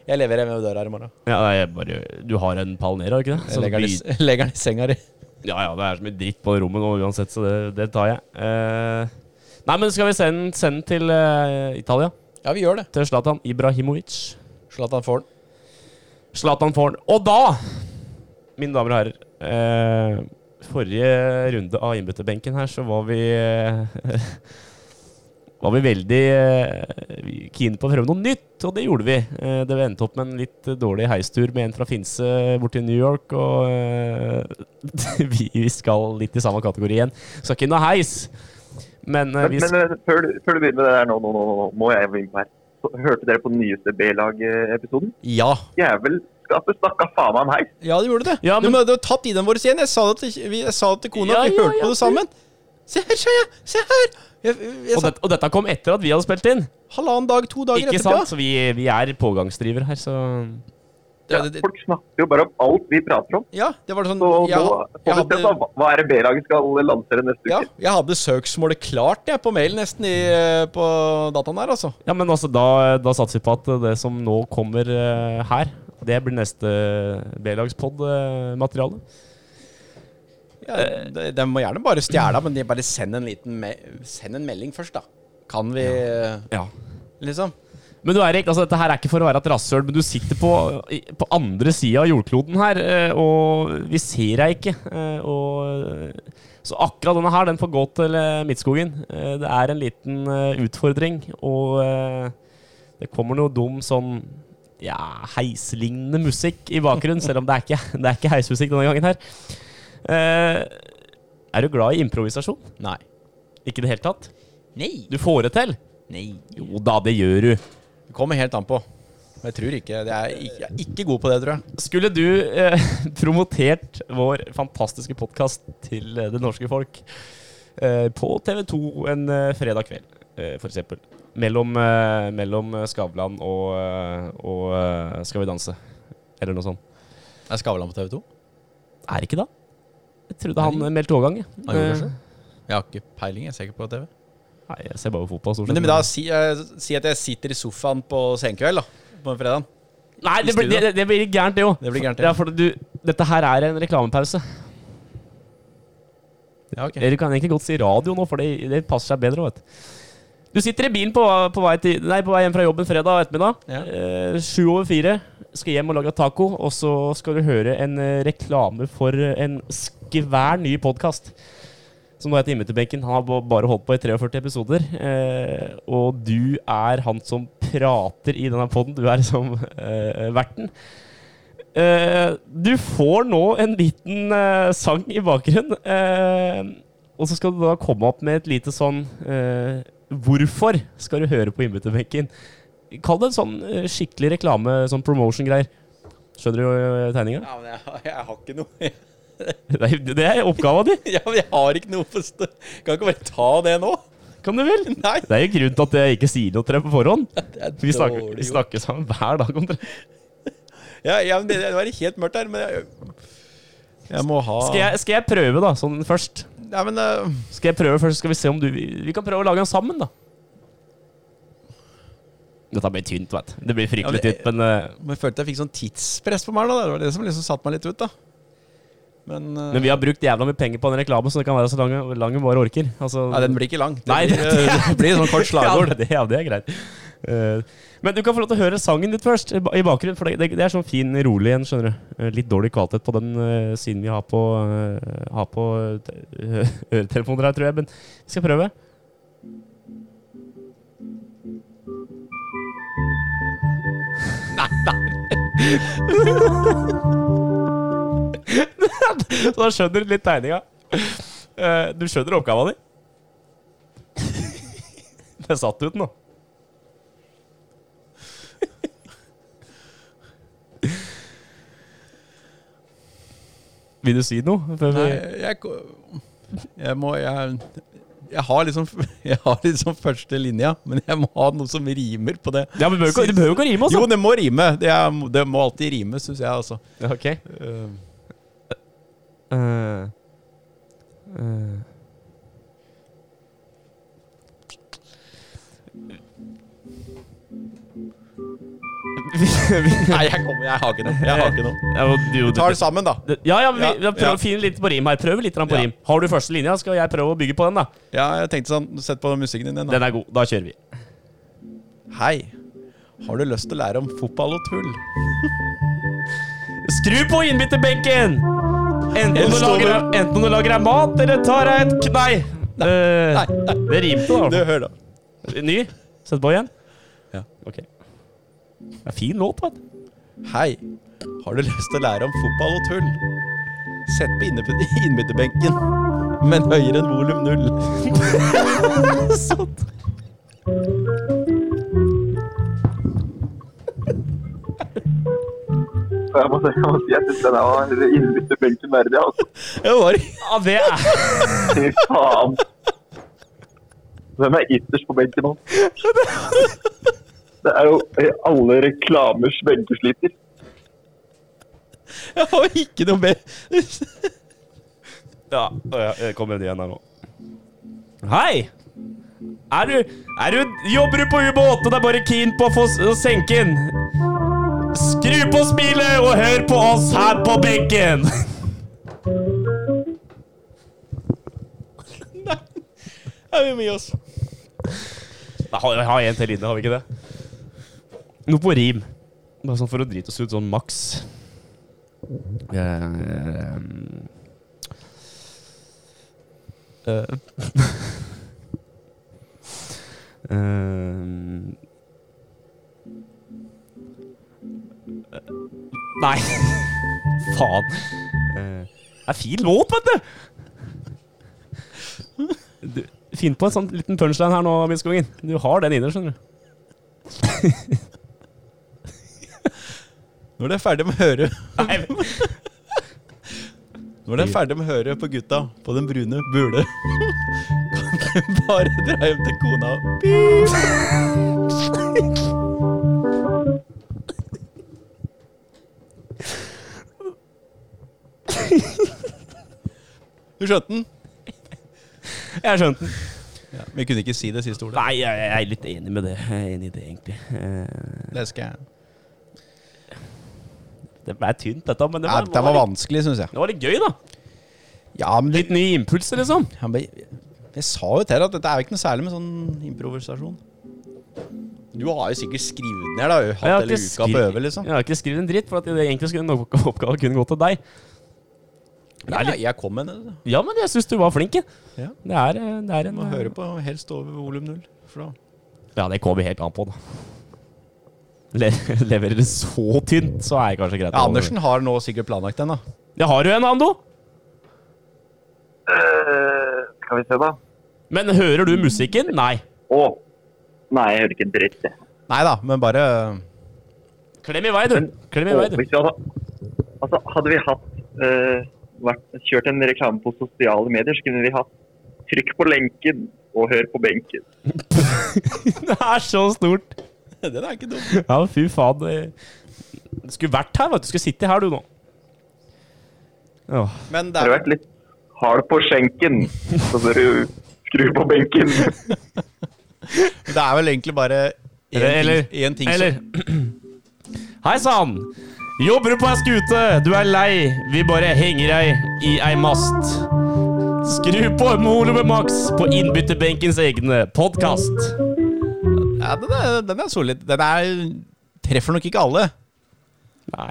C: jeg leverer med døra her i morgen.
B: ja, nei, jeg bare, du har en pall ned, har du ikke det?
C: *laughs* Jeg
B: Så
C: legger den,
B: byt-
C: i s- legger den i senga di.
B: Ja, ja, det er så mye dritt på rommet nå uansett, så det, det tar jeg. Eh, nei, men skal vi sende den sende den til eh, Italia?
C: Ja, vi gjør det.
B: Til Zlatan Ibrahimovic.
C: Zlatan får den.
B: Zlatan får den. Og da, mine damer og herrer eh, Forrige runde av innbytterbenken her, så var vi eh, *laughs* Var vi veldig eh, keen på å prøve noe nytt, og det gjorde vi. Eh, det endte opp med en litt eh, dårlig heistur med en fra Finse bort til New York, og eh, *laughs* vi, vi skal litt i samme kategori igjen. Skal ikke inn og heis, men eh,
D: Men,
B: vi
D: men eh, før, du- før du begynner med det der nå, nå, nå, nå, nå må jeg inn på her. Så Hørte dere på den nyeste B-lag-episoden?
C: Ja.
D: Jævelskapet snakka faen meg om heis!
C: Ja, du gjorde det.
B: Ja, men-
C: Du må- Du har tatt ideen vår igjen. Jeg sa det til, vi, jeg sa det til kona.
B: Ja,
C: vi
B: ja,
C: hørte
B: ja,
C: på det sammen. Se her, se her! Se her. Jeg, jeg,
B: og,
C: sa
B: det, og dette kom etter at vi hadde spilt inn.
C: halvannen dag, to dager
B: Ikke
C: etterpå.
B: sant? Så vi, vi er pågangsdriver her, så
C: Ja,
D: Ja,
C: det, det,
D: folk snakker jo bare om alt vi prater om.
C: ja, det var sånn
D: Så
C: jeg, jeg,
D: nå får vi se da,
C: hadde,
D: hva- hva er det B-laget skal lansere neste
C: ja,
D: uke.
C: jeg hadde søksmålet klart jeg, på mail nesten i, eh, på dataen her, altså.
B: Ja, men altså, da, da satser vi på at det som nå kommer eh, her, det blir neste eh, B-lagspod-materiale.
C: Ja, de, de må gjerne bare stjele, men de bare send en liten me send en melding først, da. Kan vi eh,
B: ja.
C: Liksom.
B: Men du Erik, altså, dette her er ikke for å være et rasshøl, men du sitter på, i- på andre sida av jordkloden her, eh, og vi ser deg ikke. eh, Og, så akkurat denne her, den får gå til eh, Midtskogen. Eh, Det er en liten eh, utfordring, og eh, det kommer noe dum sånn ja, heislignende musikk i bakgrunnen, selv om det er ikke, *laughs* det er ikke heismusikk denne gangen her. Eh, er du glad i improvisasjon?
C: Nei.
B: Ikke i det hele tatt?
C: Nei.
B: Du får det til?
C: Nei.
B: Jo da, det gjør du.
C: Det kommer helt an på. Men jeg tror ikke det er, Jeg er ikke god på det, tror jeg.
B: Skulle du eh, *laughs* promotert vår fantastiske podkast til eh, det norske folk eh, på TV 2 en eh, fredag kveld, eh, for eksempel Mellom, eh, mellom eh, Skavlan og, eh, og eh, Skal vi danse? Eller noe sånt.
C: Er Skavlan på TV 2?
B: Er det ikke da? Jeg trodde han eh, meldte overgang. jeg.
C: Han gjorde
B: Eh,
C: kanskje? Jeg har ikke peiling, jeg ser ikke på TV.
B: Nei, jeg ser bare fotball stort
C: Men, det- men da si, eh, si at jeg sitter i sofaen på senkveld, da. På en fredag.
B: Nei, det blir, det, det blir gærent, det jo.
C: Det blir gærent,
B: ja.
C: ja.
B: for du, dette her er en reklamepause.
C: Ja, ok.
B: Eller du kan egentlig godt si radio nå, for det, det passer seg bedre. Vet. du. Du sitter i bilen på, på, vei, til, nei, på vei hjem fra jobben fredag ettermiddag.
C: Ja.
B: Eh, sju over fire. Skal hjem og lage taco, og så skal du høre en eh, reklame for eh, en skvær ny podkast. Som nå heter Immeterbenken. Han har ba- bare holdt på i 43 episoder. Eh, og du er han som prater i denne poden. Du er som eh, verten. Eh, du får nå en liten eh, sang i bakgrunnen. eh, og så skal du da komme opp med et lite sånn eh, Hvorfor skal du høre på innbytterbenken? Kall det en sånn eh, skikkelig reklame, sånn promotion-greier. Skjønner du uh, tegninga?
C: Ja, men jeg, jeg har ikke noe *laughs*
B: Det er- Det er oppgava di!
C: Ja, men jeg har ikke noe på stø... Kan ikke bare ta det nå? *laughs*
B: Kan du vel?
C: Nei.
B: Det er jo grunnen til at jeg ikke sier noe til deg på forhånd.
C: Det er
B: Vi snakker,
C: dårlig
B: vi
C: gjort.
B: snakker sammen hver dag om det.
C: Ja, ja, men det, det var helt mørkt her, men jeg Jeg må ha
B: Skal jeg, skal jeg prøve, da? Sånn først.
C: Ja, men eh,
B: Skal jeg prøve først, skal vi se om du Vi kan prøve å lage den sammen, da. Dette blir tynt, vet du. Det blir fryktelig
C: Ja, det-
B: tynt, men, eh,
C: men jeg følte jeg fikk sånn tidspress på meg nå. da. Det var det som liksom satte meg litt ut, da. Men, eh,
B: men vi har brukt jævla mye penger på den reklamen, så det kan være så lang lang vi bare orker. Altså,
C: Nei, den blir ikke lang. Det
B: Nei,
C: blir,
B: det-
C: eh, *laughs* det blir sånn kort
B: *laughs*
C: slagord.
B: Ja, det, ja, det er greit. Eh, men du kan få lov til å høre sangen ditt først, i ba- i bakgrunnen. For det, det, det er sånn fin, rolig en, skjønner du. Eh, litt dårlig kvalitet på den eh, siden vi har på, eh, har på eh, *laughs* te- øretelefoner her, tror jeg. Men vi skal prøve. Nei, nei. *laughs* Så da skjønner du litt tegninga. Eh, du skjønner oppgava
C: *laughs*
B: di? Det satt ut nå. Vil du si noe? Før vi...
C: Nei, jeg, ko- jeg må jeg, jeg har liksom *laughs* Jeg har liksom første linja, men jeg må ha noe som rimer på det.
B: Ja, men du behøver ikke- du behøver ikke å rime, altså.
C: Jo, det må rime. Det, er, det må alltid rime, syns jeg, altså.
B: Ja, Ok.
C: Eh,
B: Eh, eh.
C: Nei, jeg kommer Jeg har ikke noe. Jeg har ikke noe.
B: Ja, men du-
C: Vi tar det sammen, da.
B: Ja, ja, men vi, da
C: Ja,
B: prøv,
C: ja.
B: Finn litt på rim her. Prøv litt grann på
C: Ja.
B: rim. Har du første linja, skal jeg prøve å bygge på den. da
C: Ja, jeg tenkte sånn Sett på musikken din igjen. da.
B: Den er god. Da kjører vi.
C: Hei. Har du lyst til å lære om fotball og tull?
B: Skru på innbytterbenken! Enten, om
C: Eller
B: du
C: står
B: lager,
C: du-
B: enten om du lager deg mat, eller tar deg et k- Nei! Eh, det rimte, da.
C: Du, hør, da.
B: Ny? Sett på igjen?
C: Ja.
B: Ok. Det er fin låt,
C: *laughs*
B: vet du.
C: Hei. Har du lyst til å lære om fotball og tull? Sett på innebe- *laughs* innbytterbenken, men høyere enn volum null. *laughs*
B: Sånn.
D: Og Jeg må, jeg må si jeg syns den der var innbytterbenken verdig, altså.
C: Jeg var
B: Ja, det er
D: Fy faen. Hvem er ytterst på benken nå? Det er jo alle reklamers benkesliter.
C: Jeg har ikke noe mer
B: Ja, ja, jeg kommer igjen her nå. Hei! Er du, er du Jobber du på ubåt og det er bare keen på å få s- å senke den? Skru på smilet og hør på oss her på
C: *laughs*
B: benken!
C: Jeg vil gi oss.
B: Nei, ha- Vi har en til inne, har vi ikke det? Noe på rim. Bare sånn for å drite oss ut sånn maks. Eh, eh, eh, Nei. *laughs* Faen. Eh, Det er fin låt, vet du! du Finn på en sånn liten punchline her nå, Midtskogen. Du har den inne, skjønner du.
C: Når du er ferdig med å høre
B: Nei, men-
C: Når du er ferdig med å høre på gutta på den brune bule, kan du bare dra hjem til kona og Du skjønte den?
B: jeg skjønte den.
C: Vi kunne ikke si det siste ordet.
B: Nei, jeg, jeg er litt enig med det. Jeg er enig i det, egentlig. Eh,
C: Det skal jeg.
B: Det ble tynt, dette, men det
C: Nei,
B: var,
C: det var vanskelig, syns jeg.
B: det var litt gøy, da.
C: Ja, men det,
B: Litt nye impulser, liksom.
C: han ble, jeg sa jo til deg at dette er jo ikke noe særlig med sånn improvisasjon. Du har jo sikkert skrevet ned, da. Hatt hele
B: ikke
C: uka
B: skri-
C: på øve, liksom.
B: Jeg har ikke skrevet en dritt, for at det egentlig skulle nok oppgave kunne gå til deg.
C: Nei, jeg kom med det.
B: Ja, men jeg syns du var flink. jeg.
C: Ja.
B: Det er, eh, det er en
C: Må høre på helst over volum null. For da
B: Ja, det kommer helt an på, da. Le *laughs* leverer det så tynt, så er det kanskje greit.
C: ja,
B: å-
C: Andersen har nå sikkert planlagt den, da.
B: Ja, har du en, Ando?
D: Eh, skal vi se, da.
B: Men hører du musikken? Nei.
D: Å! Nei, jeg hører ikke en dritt. jeg.
C: Nei da, men bare
B: Klem i vei, du. Klem i vei,
D: Å,
B: du.
D: hvis vi hadde, altså, hadde vi hatt, eh, vært, kjørt en reklame på sosiale medier, så kunne vi hatt 'trykk på lenken' og 'hør på benken'.
B: *laughs* Det er så stort.
C: *laughs* Den er ikke dum.
B: Ja, fy faen. det- Du skulle vært her, vet du. Du skulle sitte her, du, nå. Åh.
C: Men det
D: Har du vært litt hard på skjenken, så bør du skru på benken.
B: *laughs*
C: det er vel egentlig bare én
B: Eller, eller,
C: ting, en ting
B: eller. *clears throat* Hei sann! Jobber du på ei skute? Du er lei. Vi bare henger deg i ei mast. Skru på volumet maks på innbytterbenkens egne podkast.
C: som ja, den, er, den er solid. Den er Treffer nok ikke alle.
B: Nei.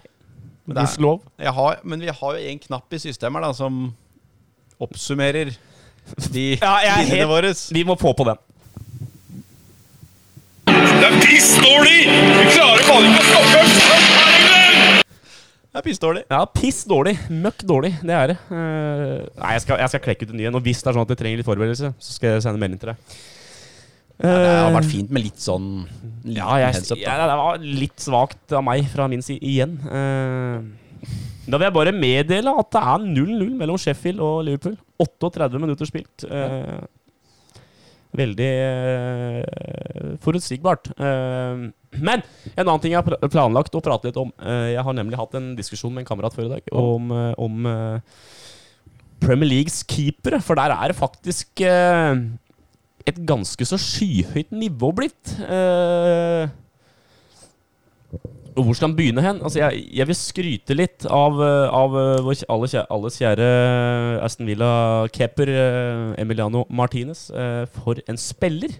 C: det er-
B: Gudskjelov.
C: Jeg har, men vi har jo en knapp i systemet her da, som oppsummerer de *laughs*
B: Ja, jeg er
C: linjene
B: helt-
C: våre.
B: Vi må få på den.
C: Det er pissdårlig.
B: Ja, piss dårlig. Møkk dårlig. Det er det. Eh, nei, jeg skal, jeg skal klekke ut en ny en. Og hvis det er sånn at jeg trenger litt forberedelse, så skal jeg sende melding til deg.
C: Det har vært fint med litt sånn liten
B: Ja, jeg,
C: heads up,
B: ja,
C: da.
B: det var litt svakt av meg fra min side igjen. Eh, da vil jeg bare meddele at det er 0-0 mellom Sheffield og Liverpool. 38 minutter spilt. Eh, veldig eh, forutsigbart. Eh, men en annen ting jeg har pla- planlagt å prate litt om. Eh, jeg har nemlig hatt en diskusjon med en kamerat før i dag om, eh, om eh, Premier Leagues keepere, for der er det faktisk eh, et ganske så skyhøyt nivå blitt. Eh, og hvor skal han begynne hen? Altså, jeg, jeg vil skryte litt av, eh, av eh, vår kjæ- alles kjære, alles kjære eh, Aston Villa-keeper eh, Emiliano Martinez. eh, for en spiller!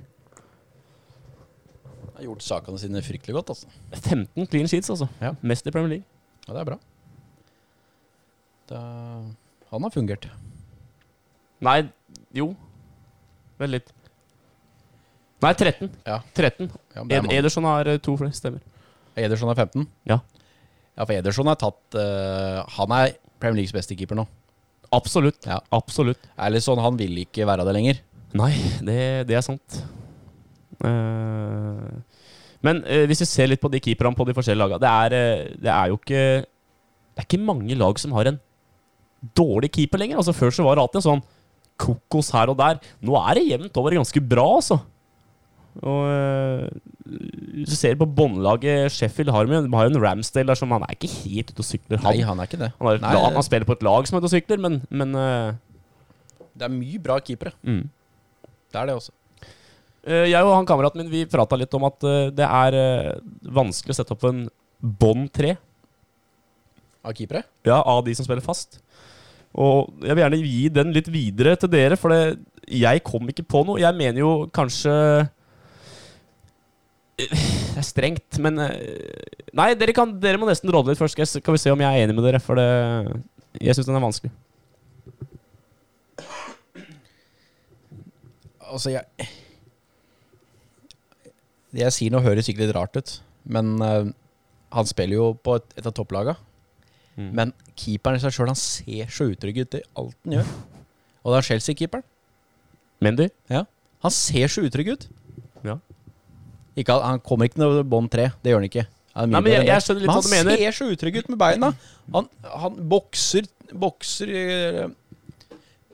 C: Jeg har gjort sakene sine fryktelig godt, altså.
B: 15 clean sheets, altså.
C: Ja.
B: Mest i Premier League.
C: Ja, det er bra. Det, han har fungert.
B: Nei, jo Vent litt. Nei, 13.
C: Ja.
B: 13.
C: Ja, men det er
B: Ed
C: mange.
B: Ederson har eh, to flere stemmer.
C: Ederson er 15.
B: Ja.
C: Ja, for Ederson har tatt eh, Han er Premier Leagues beste keeper nå.
B: Absolutt.
C: Ja.
B: Absolutt.
C: Ellison han vil ikke være det lenger.
B: Nei, det, det er sant. Eh, men eh, hvis vi ser litt på de keeperne på de forskjellige lagene det, er, eh, det er jo ikke Det er ikke mange lag som har en dårlig keeper lenger. Altså Før så var det alltid en sånn kokos her og der. Nå er det jevnt over ganske bra, altså. Og eh, Hvis du ser på båndlaget Sheffield har med, de har jo en Ramsdale der som han er ikke helt ute og sykler.
C: Nei,
B: Han,
C: han er ikke det.
B: han, har et
C: Nei,
B: lag, han spiller på et lag som er ute og sykler, men, men eh,
C: det er mye bra keepere.
B: Mm.
C: Det er det også.
B: Eh, Jeg og han kameraten min vi prata litt om at eh, det er eh, vanskelig å sette opp en bånd tre
C: Av keepere?
B: ja, av de som spiller fast. Og jeg vil gjerne gi den litt videre til dere, for det, jeg kom ikke på noe. Jeg mener jo kanskje eh, Det er strengt, men eh, Nei, dere, kan, dere må nesten råde litt først, skal jeg s- kan vi se om jeg er enig med dere. For det, jeg syns den er vanskelig.
C: Altså, jeg Det jeg sier nå, høres sikkert litt rart ut, men eh, han spiller jo på et, et av topplagene
B: Mm.
C: Men keeperen i seg sjøl ser så utrygg ut i alt han gjør. Og det er Chelsea-keeperen.
B: Mendy?
C: Ja. Han ser så utrygg ut.
B: Ja.
C: Ikke, at- han kommer ikke noe bånd tre. Det gjør han ikke. Han er
B: Nei,
C: mye
B: men
C: bedre
B: jeg-
C: enn
B: jeg
C: det.
B: skjønner litt
C: men
B: hva du mener.
C: Han ser så utrygg ut med beina. Han, han bokser, bokser eh,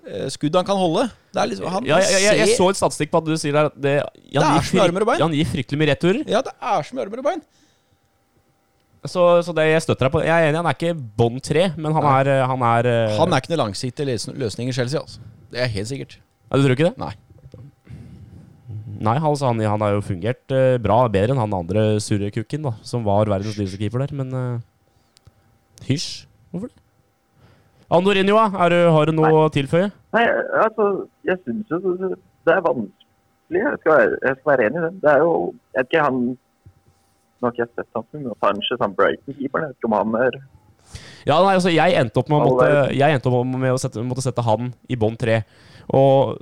C: eh, skudd han kan holde. Det er liksom, han
B: Ja, jeg, jeg, jeg
C: ser-
B: så en statistikk på at du sier der at det, ja, han,
C: Det er
B: gir
C: som armer og
B: frykt,
C: bein.
B: han gir fryktelig mye returer.
C: Ja, det er så mye armer og bein.
B: Så, så det jeg støtter deg på Jeg er enig, han er ikke bånd tre, men han er, eh, han er eh,
C: Han er ikke noen langsiktig løs- løsning i Chelsea, altså. Det er helt sikkert.
B: ja, Du tror ikke det?
C: Nei.
B: Nei, altså, han, han har jo fungert eh, bra, bedre enn han andre surrekukken, da, som var verdens dyreste keeper der, men eh, Hysj. Hvorfor det? Andorinho, da? Er du- har du noe å tilføye?
D: Nei, altså, jeg syns jo det er vanskelig. Jeg skal, være- jeg skal være enig i det. Det er jo Jeg vet ikke, han Nå har ikke jeg sett han så mye, men Sanchez, han Brighton-keeperen, jeg vet ikke om han er
B: Ja, nei, altså jeg endte opp med å, måtte, jeg endte opp med å sette, måtte sette han i bånd tre. Og,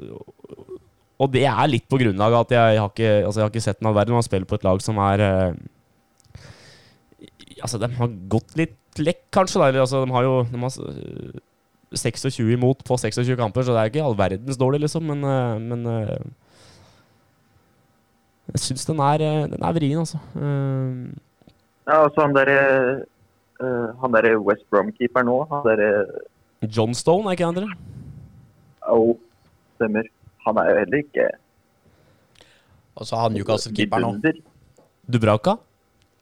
B: og det er litt på grunnlag av at jeg har ikke, altså jeg har ikke sett den all verden. Han spiller på et lag som er eh, Altså, de har gått litt lekk, kanskje. Da. Eller, altså, de har jo de har, eh, 26 imot på 26 kamper, så det er ikke all verdens dårlig, liksom. Men, eh, men eh, jeg syns den er, eh, den er vrien, altså. Eh,
D: Ja, altså han derre Han derre West Brom-keeperen nå, han eh, derre
B: John Stone, er ikke det, André?
D: Au, stemmer. Han er jo heller ikke
C: Og så har han Newcastle-keeperen nå.
D: vidunder.
B: Dubrauka?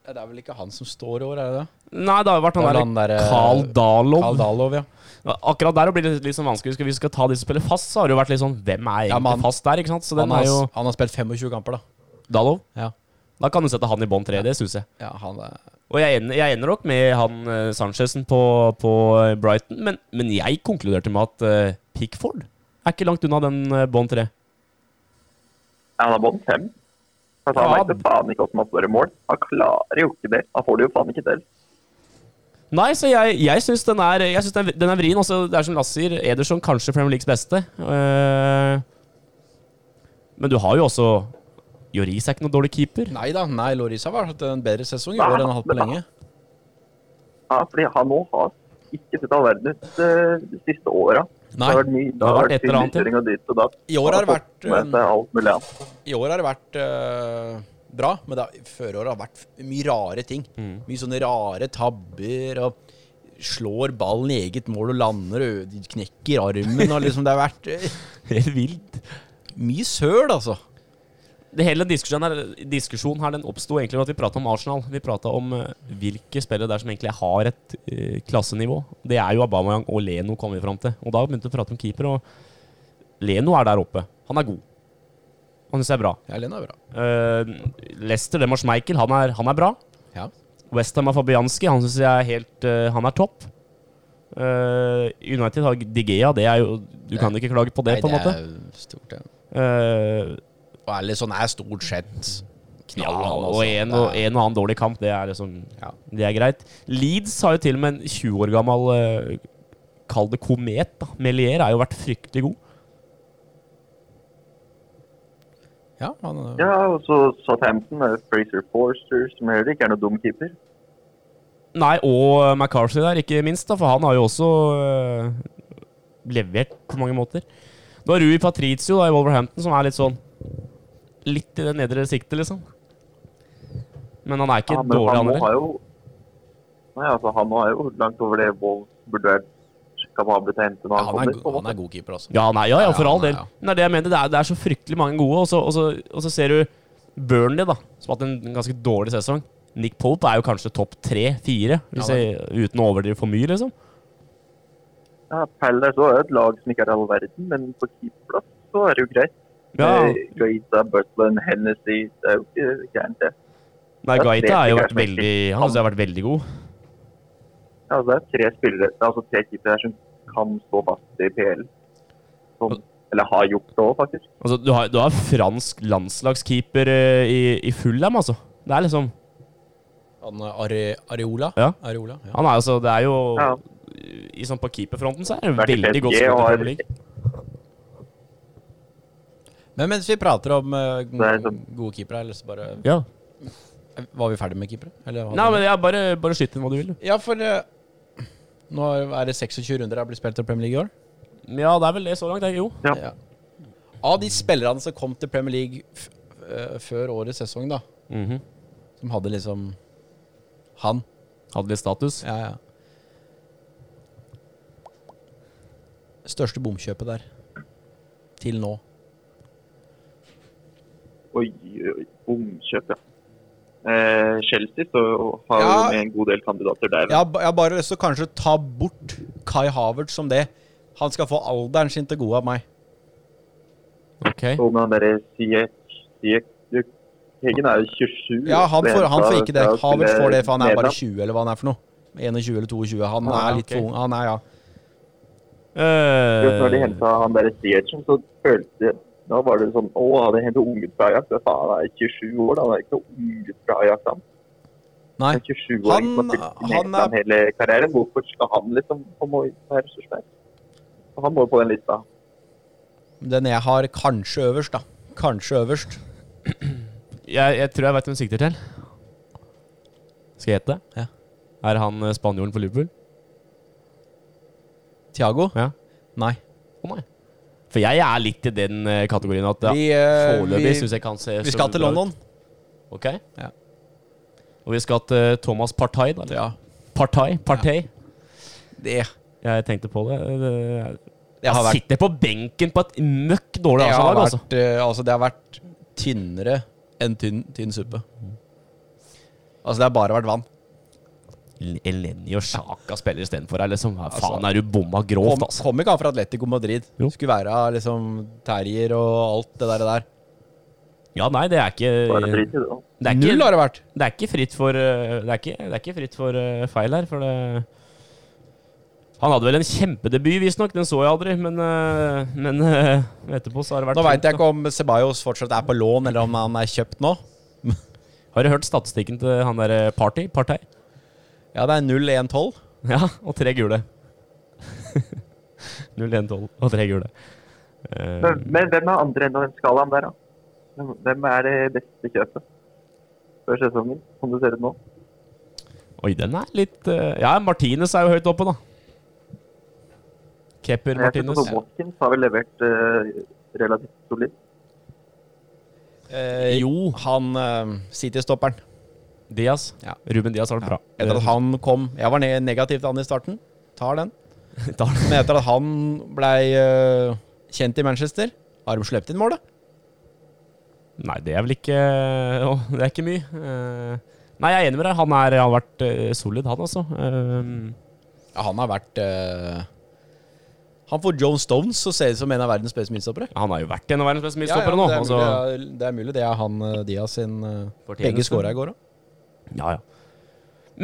C: Ja, Det er vel ikke han som står over, er det det?
B: Nei, det har jo vært
C: Det er
B: han
C: vel
B: der
C: han der,
B: Carl
C: eh,
B: Dalov.
C: Karl Dalov, ja.
B: Akkurat der blir det litt sånn vanskelig. Skal vi skal ta de som spiller fast, så har det jo vært litt sånn Hvem er egentlig
C: Ja, men han-
B: fast der? ikke sant? Så den
C: Han har,
B: er jo
C: han har spilt 25 kamper, da.
B: Dalov.
C: Ja,
B: Da kan du sette han i bånd tre, det syns jeg.
C: ja han er
B: Og jeg ender, jeg ender nok med han eh, Sanchez'en på, på eh, Brighton, men, men jeg konkluderte med at eh, Pickford er ikke langt unna den eh, bånd tre.
D: Ja, han har bånd fem. Altså, han
B: Ja.
D: veit jo faen ikke hvordan man står i mål. Han klarer jo ikke det. Han får det jo faen ikke til.
B: Nei, så jeg, jeg syns den, er- jeg synes den, den er vrien. Også, det er som Lasse sier, Ederson kanskje Premier Leagues beste. Eh, men du har jo også Joris er ikke noen dårlig keeper.
C: Nei da, nei, Loris har hatt en bedre sesong i
D: Nei,
C: år enn han har hatt på
D: men-
C: lenge.
D: Ja, fordi han nå har ikke sett all verden ut eh, de siste åra. Det
C: Nei,
D: har vært mye det har vært
B: et eller annet, ja.
D: finjussering og ditt og datt.
C: I år har det
D: Han
C: vært, um,
D: fått med seg alt mulig annet.
C: i år har det vært eh, bra, men det har- føråret har vært mye rare ting. Mye sånne rare tabber og slår ballen i eget mål og lander og knekker armen og liksom Det har vært eh,
B: Helt vilt.
C: mye søl, altså.
B: Det hele diskusjonen her, diskusjonen her den oppsto egentlig ved at vi prata om Arsenal. Vi prata om eh, hvilke spillere det er som egentlig har et eh, klassenivå. Det er jo Aubameyang og Leno kom vi fram til. Og da begynte vi å prate om keeper, og Leno er der oppe. Han er god. Han syns jeg er bra.
C: Ja, Lena er bra.
B: Uh, Lester, Demars Michael, han er, han er bra.
C: Ja.
B: Westham har Fabianski, han syns jeg er helt eh, Han er topp. Eh, United har Digea, det er jo Du kan ikke klage på det, på en måte.
C: er stort, ja.
B: Eh,
C: Og Alisson er stort sett
B: Ja,
C: knall, han,
B: og
C: altså.
B: en
C: Det
B: og,
C: er-
B: en og annen dårlig kamp, det er liksom
C: Ja.
B: Det er greit. Leeds har jo til og med en 20 år gammel eh, Kall det komet, da. Melier har jo vært fryktelig god.
C: Ja, han,
D: Ja, og så Southampton med Fraser Forster, som heller ikke er noen dum keeper.
B: Nei, og eh, McCarthy der, ikke minst, da, for han har jo også eh, levert på mange måter. Du har Rui Patricio da, i Wolverhampton, som er litt sånn Litt i det nedre siktet, liksom. Men han er ikke
D: Ja, men
B: dårlig,
D: han
B: han
D: nå
B: heller.
D: har jo Nei, altså, han nå er jo langt over det Wolves burde vært kapable til å hente når
C: Ja,
D: han,
C: han, er,
D: kommer.
C: go- han er god keeper, altså.
B: Ja, nei, ja, ja, for
C: Ja,
B: all
C: nei,
B: del.
C: ja.
B: Men Det er det jeg mener. Det er, det er så fryktelig mange gode, og så, og så, og så ser du Burnley, da, som har hatt en, en ganske dårlig sesong. Nick Pope er jo kanskje topp tre-fire,
C: Ja,
B: uten å overdrive for mye, liksom.
D: Ja, Palace også er jo et lag som ikke er all verden, men på keeperplass så er det jo greit.
B: Ja,
D: Eh, Gaita, Butland, Hennessy Det er jo ikke gærent, det.
B: nei,
D: ja, det
B: Gaita har jo
D: er
B: vært
D: faktisk-
B: veldig Han synes jeg har vært veldig god.
D: Ja, altså, det er tre spillere, altså tre keepere her som kan stå fast i PL. Som, eller har gjort det òg, faktisk.
B: Altså, du, har, du har fransk landslagskeeper eh, i, i Fulham, altså. Det er liksom
C: Han eh, er Are, Areola.
B: Ja.
C: Areola ja.
B: Han er altså Det er jo
D: Ja.
B: i, sånn På keeperfronten så er det
D: Vært i
B: veldig godt
D: PSG
B: spilt i
D: og har-
B: Premier League.
C: Men mens vi prater om eh, go-
D: Nei, så-
C: gode keepere, eller så bare
B: Ja.
C: Var vi ferdig med keepere? Eller, hadde
B: Nei,
C: vi-
B: men jeg bare, bare skyt inn hva du vil. du.
C: Ja, for eh, Nå er det 26 runder det har blitt spilt i Premier League i år.
B: Ja, det er vel det så langt. det er Jo.
D: Ja.
C: Ja. Av de spillerne som kom til Premier League f eh, før årets sesong, da,
B: Mhm.
C: som hadde liksom han
B: Hadde litt status.
C: Ja, ja. Største bomkjøpet der. Til nå.
D: Oi, oi, bomkjøp, ja. Eh, Chelsea så har
C: Ja.
D: jo med en god del kandidater der.
C: Jeg har, ba- jeg har bare lyst til å kanskje ta bort Kai Havertz som det. Han skal få alderen sin til gode av meg.
B: Ok.
D: Og med han derre Siek Siek Hegen er jo 27.
C: Ja, han får, han får ikke det.
D: Skal spille
C: Havertz får det, for han er bare
D: Nederland.
C: 20 eller hva han er for noe. 21 eller 22. Han
B: Ah,
C: er litt
B: ok.
C: for ung. Han er, ja.
B: Eh,
D: Når de henta han derre Sietchen, så følte jeg Nå var det sånn Å, han henter unge fra Ajax. Jeg sa han er 27 år, da. Han er ikke noen unge fra Ajax, han.
C: Nei.
D: Han er 27 år,
C: Han-
D: han, har
C: han
D: han er... hele karrieren. Hvorfor skal han liksom komme og være så svær? Han må jo på den lista.
C: Den jeg har kanskje øverst, da. Kanskje øverst.
B: jeg, jeg tror jeg vet hvem du sikter til. Skal jeg gjette?
C: Ja.
B: Er han eh, spanjolen for Liverpool?
C: Tiago?
B: Ja.
C: Nei.
B: Å nei. For jeg er litt i den eh, kategorien at ja,
C: Vi, eh,
B: foreløpig
C: vi,
B: syns jeg kan se
C: vi
B: så
C: skal til
B: bra ut.
C: London.
B: Ok.
C: Ja.
B: Og vi skal til eh, Thomas Partey, da. eller?
C: Ja.
B: Partey? Partey?
C: Det,
B: Jeg tenkte på det. det er-
C: det har
B: han
C: vært
B: sitter på benken på et møkk dårlig
C: Det har,
B: Arsenal-lag, altså.
C: vært, eh, altså, det har vært tynnere enn tynn, tynn suppe. Altså, det har bare vært vann.
B: El- Eleni og Sjaka spiller istedenfor her, liksom. Hva
C: Altså,
B: faen er du bomma
C: Kom,
B: grovt, altså?
C: kom ikke han fra Atletico Madrid.
B: Jo.
C: Skulle være liksom terrier og alt det der. der.
B: Ja, nei, det er
D: Bare
B: ikke
D: drit i det. da.
B: Det er
C: Null
B: ikke,
C: har det vært.
B: det er ikke fritt for eh, Det er ikke, det er ikke fritt for eh, feil her, for det Han hadde vel en kjempedebut, visstnok. Den så jeg aldri, men, eh, men eh, etterpå så har det vært
C: Nå veit jeg
B: tungt,
C: ikke om Ceballos fortsatt er på lån, eller om han er kjøpt nå.
B: da. Har du hørt statistikken til han derre Party? Partey? *laughs*
C: Ja, det er 0-1-12.
B: Ja, og tre gule. *laughs* 0-1-12 og tre gule. Eh,
D: Men, men hvem er andre enn den skalaen der, da? Hvem- Hvem er det beste kjøpet før sesongen, som det ser ut nå?
B: oi, den er litt eh, Ja, Martinez er jo høyt oppe, da. Kepper
D: Jeg synes
B: Martinez.
D: også Watkins har vel levert eh, relativt solid.
C: Eh,
B: Jo.
C: Han eh, City-stopperen.
B: Diaz.
C: Ja.
B: Ruben Diaz har vært bra.
C: Etter at han kom Jeg var ne- negativ til han i starten. Tar den.
B: *laughs* Tar den.
C: Men etter at han blei eh, kjent i Manchester, har de sluppet inn målet.
B: Nei, det er vel ikke Å, det er ikke mye. Eh, Nei, jeg er enig med deg. Han er, har vært eh, solid, han altså. Eh,
C: Ja, han har vært eh, Han får Joan Stones, så ser det ut som en av verdens beste midtstoppere.
B: han har jo vært en av verdens beste midtstoppere
C: det, er
B: nå. Altså,
C: mulig, det er mulig det er han eh, Diaz sin eh,
B: Fortjeneste.
C: Begge skåra i går òg.
B: Ja, ja.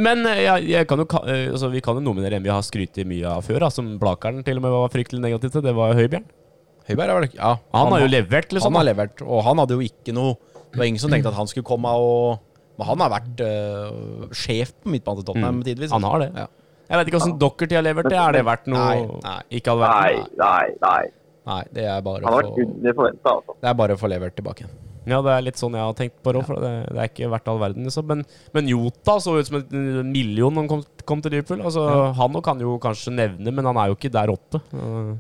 B: Men eh, jeg, jeg kan jo, ka- eh, altså, vi kan jo nominere en vi har skrytt mye av før, da, som Blakeren til og med var fryktelig negativ til. Det var Høibjørn.
C: Høiberg er vel ikke ja,
B: Han, har jo levert, liksom.
C: Han har
B: da.
C: levert, og han hadde jo ikke noe Det var ingen som tenkte at han skulle komme og Men han har vært eh, sjef på midtbanen til Tottenham tidvis.
B: Mm. Han har det.
C: Ja.
B: Jeg vet ikke åssen Dockerty har levert. det. Er det verdt noe?
C: Nei, nei.
B: Ikke all
D: Nei,
B: verden.
D: nei, nei.
C: Nei, det er bare
D: Han har
C: å
D: vært
C: få
D: under forventa, altså.
C: Det er bare å få levert tilbake.
B: Ja, det er litt sånn jeg har tenkt på det òg. Det, det er ikke verdt all verden, liksom. Men, men Jota så ut som en million da han kom, kom til Liverpool. Altså, Han òg kan jo kanskje nevne, men han er jo ikke der oppe. Uh,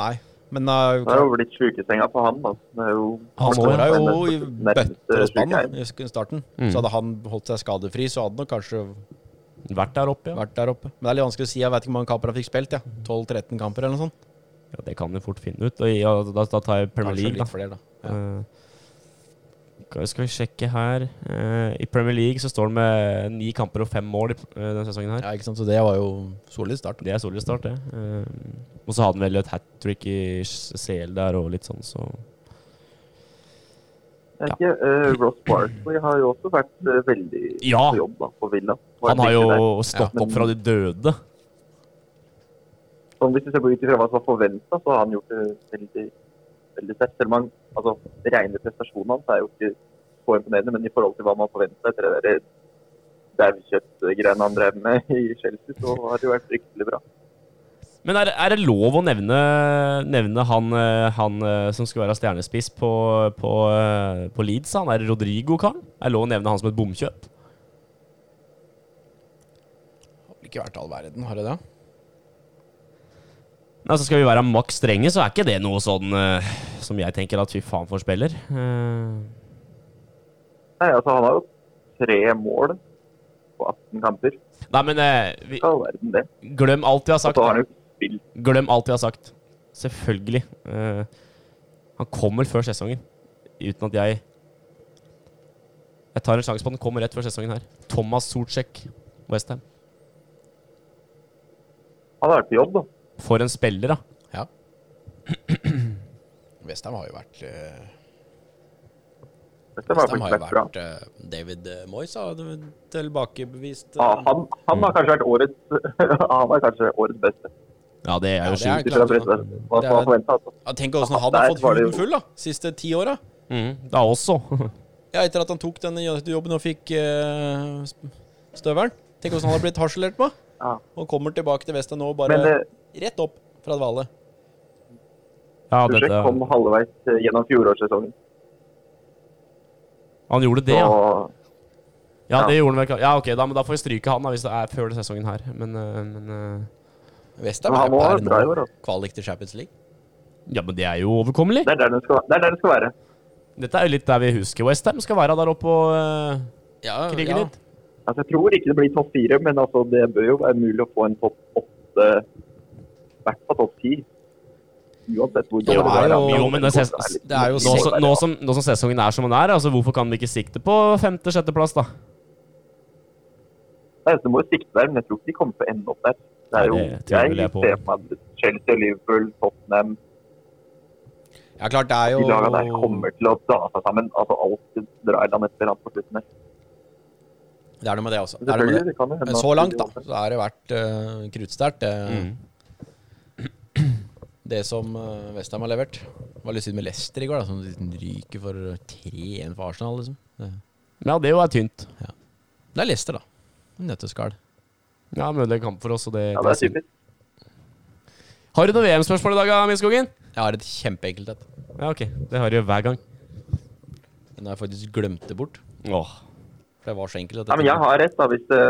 C: Nei, men eh,
D: Det er jo blitt sjukesenga for han, da. Det er jo,
B: Han
C: Han
B: må
C: skåra
B: jo-
C: jo i
D: Nærmeste
C: bøtter og spann da,
D: sjukeheim.
C: i sk- starten.
B: Mm.
C: Så hadde han holdt seg skadefri, så hadde han nok kanskje
B: vært der oppe, ja.
C: vært der oppe. Men det er litt vanskelig å si. Jeg vet ikke hvor mange kamper han fikk spilt. Ja. 12-13 kamper eller noe sånt.
B: ja. Det kan du fort finne ut. Og, ja, da, da tar jeg Premier
C: Kanskje
B: League, da.
C: litt flere, da. Ja.
B: Eh, Skal skal vi sjekke her Eh, I Premier League så står han med ni kamper og fem mål i, eh, denne sesongen. her
C: ja, ikke sant. Så det var jo solid start.
B: Det er solid start, det. Eh, og så hadde han vel et hat trick i CL der og litt sånn, så
D: det er ikke, eh, Ross Barkley har jo også vært eh, veldig
B: Ja.
D: på jobb da, på Villa. Var
B: Han har
D: viktig der.
B: jo stått
D: Ja.
B: opp fra de døde.
D: Sånn, hvis du ser på ut ifra hva som var forventa, så har han gjort det veldig, veldig sterkt. Selv om han, altså, rene prestasjonen hans er jo ikke så imponerende, men i forhold til hva man forventa etter det der daukjøttgreiene han drev med i Chelsea, så har det jo vært fryktelig bra.
B: Men er, er det lov å nevne, nevne han, eh, han eh, som skulle være stjernespiss på, på, eh, på Leeds? Han er Rodrigo-karen. Er det lov å nevne han som et bomkjøp?
C: Har vel ikke vært all verden, har det det?
B: Men altså, skal vi være maks strenge, så er ikke det noe sånn eh, som jeg tenker at fy faen for spiller. Eh,
D: Nei, altså, han har jo tre mål på 18 kamper.
B: nei, men eh, vi,
D: All verden, det.
B: glem alt vi har
D: Og
B: sagt.
D: så har han jo spilt
B: Glem alt vi har sagt. Selvfølgelig. Eh, han kommer før sesongen. Uten at jeg Jeg tar en sjanse på at han kommer rett før sesongen her. Thomas Sortsjek, Westham.
D: Han har vært på jobb, da.
B: For en spiller, da.
C: Ja. *clears throat* Westham har jo vært eh,
D: Dette
C: Westham
D: var
C: har jo
D: faktisk bra.
C: vært eh, David eh, Moyes har jo tilbakebevist eh,
D: Ja, han, han har kanskje vært årets *laughs* Han er kanskje årets beste.
B: Ja, det er
C: Ja,
B: jo
C: det er
B: sjukt.
D: Ut ifra presset. Hva
C: Det
D: som var
C: er-
D: forventa, altså.
C: Ja, Tenk åssen han har
D: Der
C: fått
D: var det jo-
C: huden full da siste ti åra.
B: Mm, da også. *laughs*
C: Ja, etter at han tok denne jobben og fikk eh, sp- støvelen. Tenk åssen han har blitt harselert med.
D: Ja.
C: Og kommer tilbake til Westham nå bare
D: Men eh,
C: rett opp fra dvale.
B: ja,
D: Sushek
B: dette,
D: kom halvveis eh, gjennom fjorårssesongen.
B: han gjorde det, ja.
D: Så
B: Ja,
D: Ja.
B: det gjorde han vel. Ja, ok, da, men da får vi stryke han da, hvis det er før den sesongen her. Men, eh, men eh,
C: Westham
D: Men
C: er
D: han
C: jo
D: var
C: per
D: bra i år,
C: nå
D: altså.
C: kvalik til Champions League.
B: Ja, men det er jo overkommelig.
D: det er der den skal, det er der den skal være.
B: Dette er jo litt der vi husker Westham skal være der oppe og eh,
C: Ja,
B: krige
C: ja.
B: litt.
D: Altså, jeg tror ikke det blir topp fire, men altså, det bør jo være mulig å få en topp åtte, i hvert fall topp ti. Uansett hvor
C: det er
D: da.
C: jo-
B: Jo, men det ses-
C: det er jo
B: Nå,
C: Nå
B: som- nå, som, nå som sesongen er som den er, altså hvorfor kan vi ikke sikte på femte-sjetteplass, da?
D: Nei, så må jo sikte der, men jeg tror ikke de kommer til å ende opp der. Det er jo,
B: Nei, det tviler
D: jeg,
B: jeg på.
D: ser for meg at Chelsea, Liverpool, Tottenham
C: ja, klart det er
D: De lagene der
C: jo
D: kommer til å dra seg sammen. Altså, alt drar land etter land på slutten her.
C: Det er noe med det også. Det er noe med
D: Selvfølgelig,
C: det.
D: det kan jo hende
C: Men så
D: at-
C: langt, da, så har det vært uh, kruttsterkt, det, Mm. *clears throat* det som uh, Westham har levert. Det var litt synd med Leicester i går, da, som liksom ryker for 3-1 for Arsenal, liksom. Det,
B: Ja, det er jo er tynt.
C: det er Leicester, da. Nøtteskall.
B: Ja, mulig kamp for oss, og det,
D: Ja,
B: det
D: det
B: er
D: er
B: synd.
D: typisk.
B: Har du noe VM-spørsmål i dag, Minskogen?
C: Jeg har et kjempeenkelt et.
B: Ja, ok. Det har du jo hver gang.
C: Men jeg faktisk glemte det bort.
B: Åh.
C: For det var så enkelt. At
D: Ja, men jeg har rett, da, hvis det,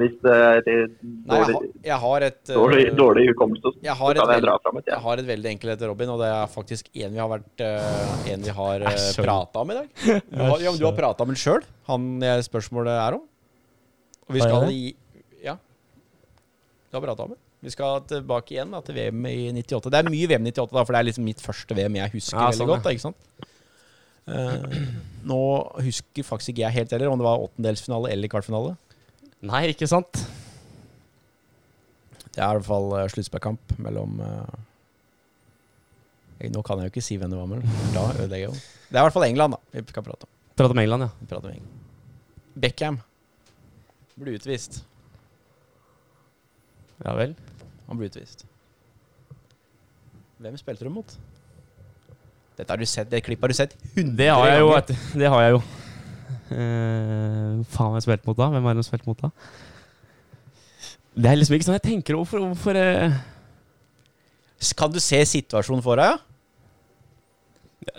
D: hvis eh, det er
C: Nei, jeg
D: dårlig,
C: har, jeg har et eh,
D: dårlig, dårlig hukommelse, så
C: Jeg har et
D: kan jeg
C: veldig-
D: dra fram et.
C: Jeg
D: Ja.
C: har et veldig enkelt et, Robin, og det er faktisk en vi har vært eh, En vi har
B: Æsj, Robin.
C: prata om i
B: *laughs*
C: dag. Du har, ja, men du har prata om den sjøl, han jeg spørsmålet er om. Og vi
B: Har jeg
C: skal
B: det?
C: i Ja. Du har prata om det. Vi skal tilbake igjen da, til VM i 98. Det er mye VM i 98, da, for det er liksom mitt første VM jeg husker
B: Ja,
C: veldig
B: sånn,
C: godt. Da, ikke sant? Eh, *clears throat* nå husker faktisk ikke jeg helt heller om det var åttendelsfinale eller kvartfinale.
B: Nei, ikke sant?
C: Det er i hvert fall eh, sluttspillkamp mellom eh, jeg- Nå kan jeg jo ikke si hvem det var mellom. for Da ødelegger jeg jo. Det er i hvert fall England, da. Vi kan prate om,
B: Prate om England, ja.
C: vi prater om England. Beckham ble utvist.
B: Ja vel.
C: Han ble utvist. Hvem spilte du mot? Dette har du sett, det klippet har du sett 100
B: Det har jeg jo.
C: ganger.
B: Vet. du. Det har jeg jo. Eh, faen, hva har jeg spilt mot da? Hvem har jeg spilt mot da? Det er liksom ikke sånn jeg tenker over hvorfor, hvorfor eh,
C: Kan du se situasjonen for deg? ja?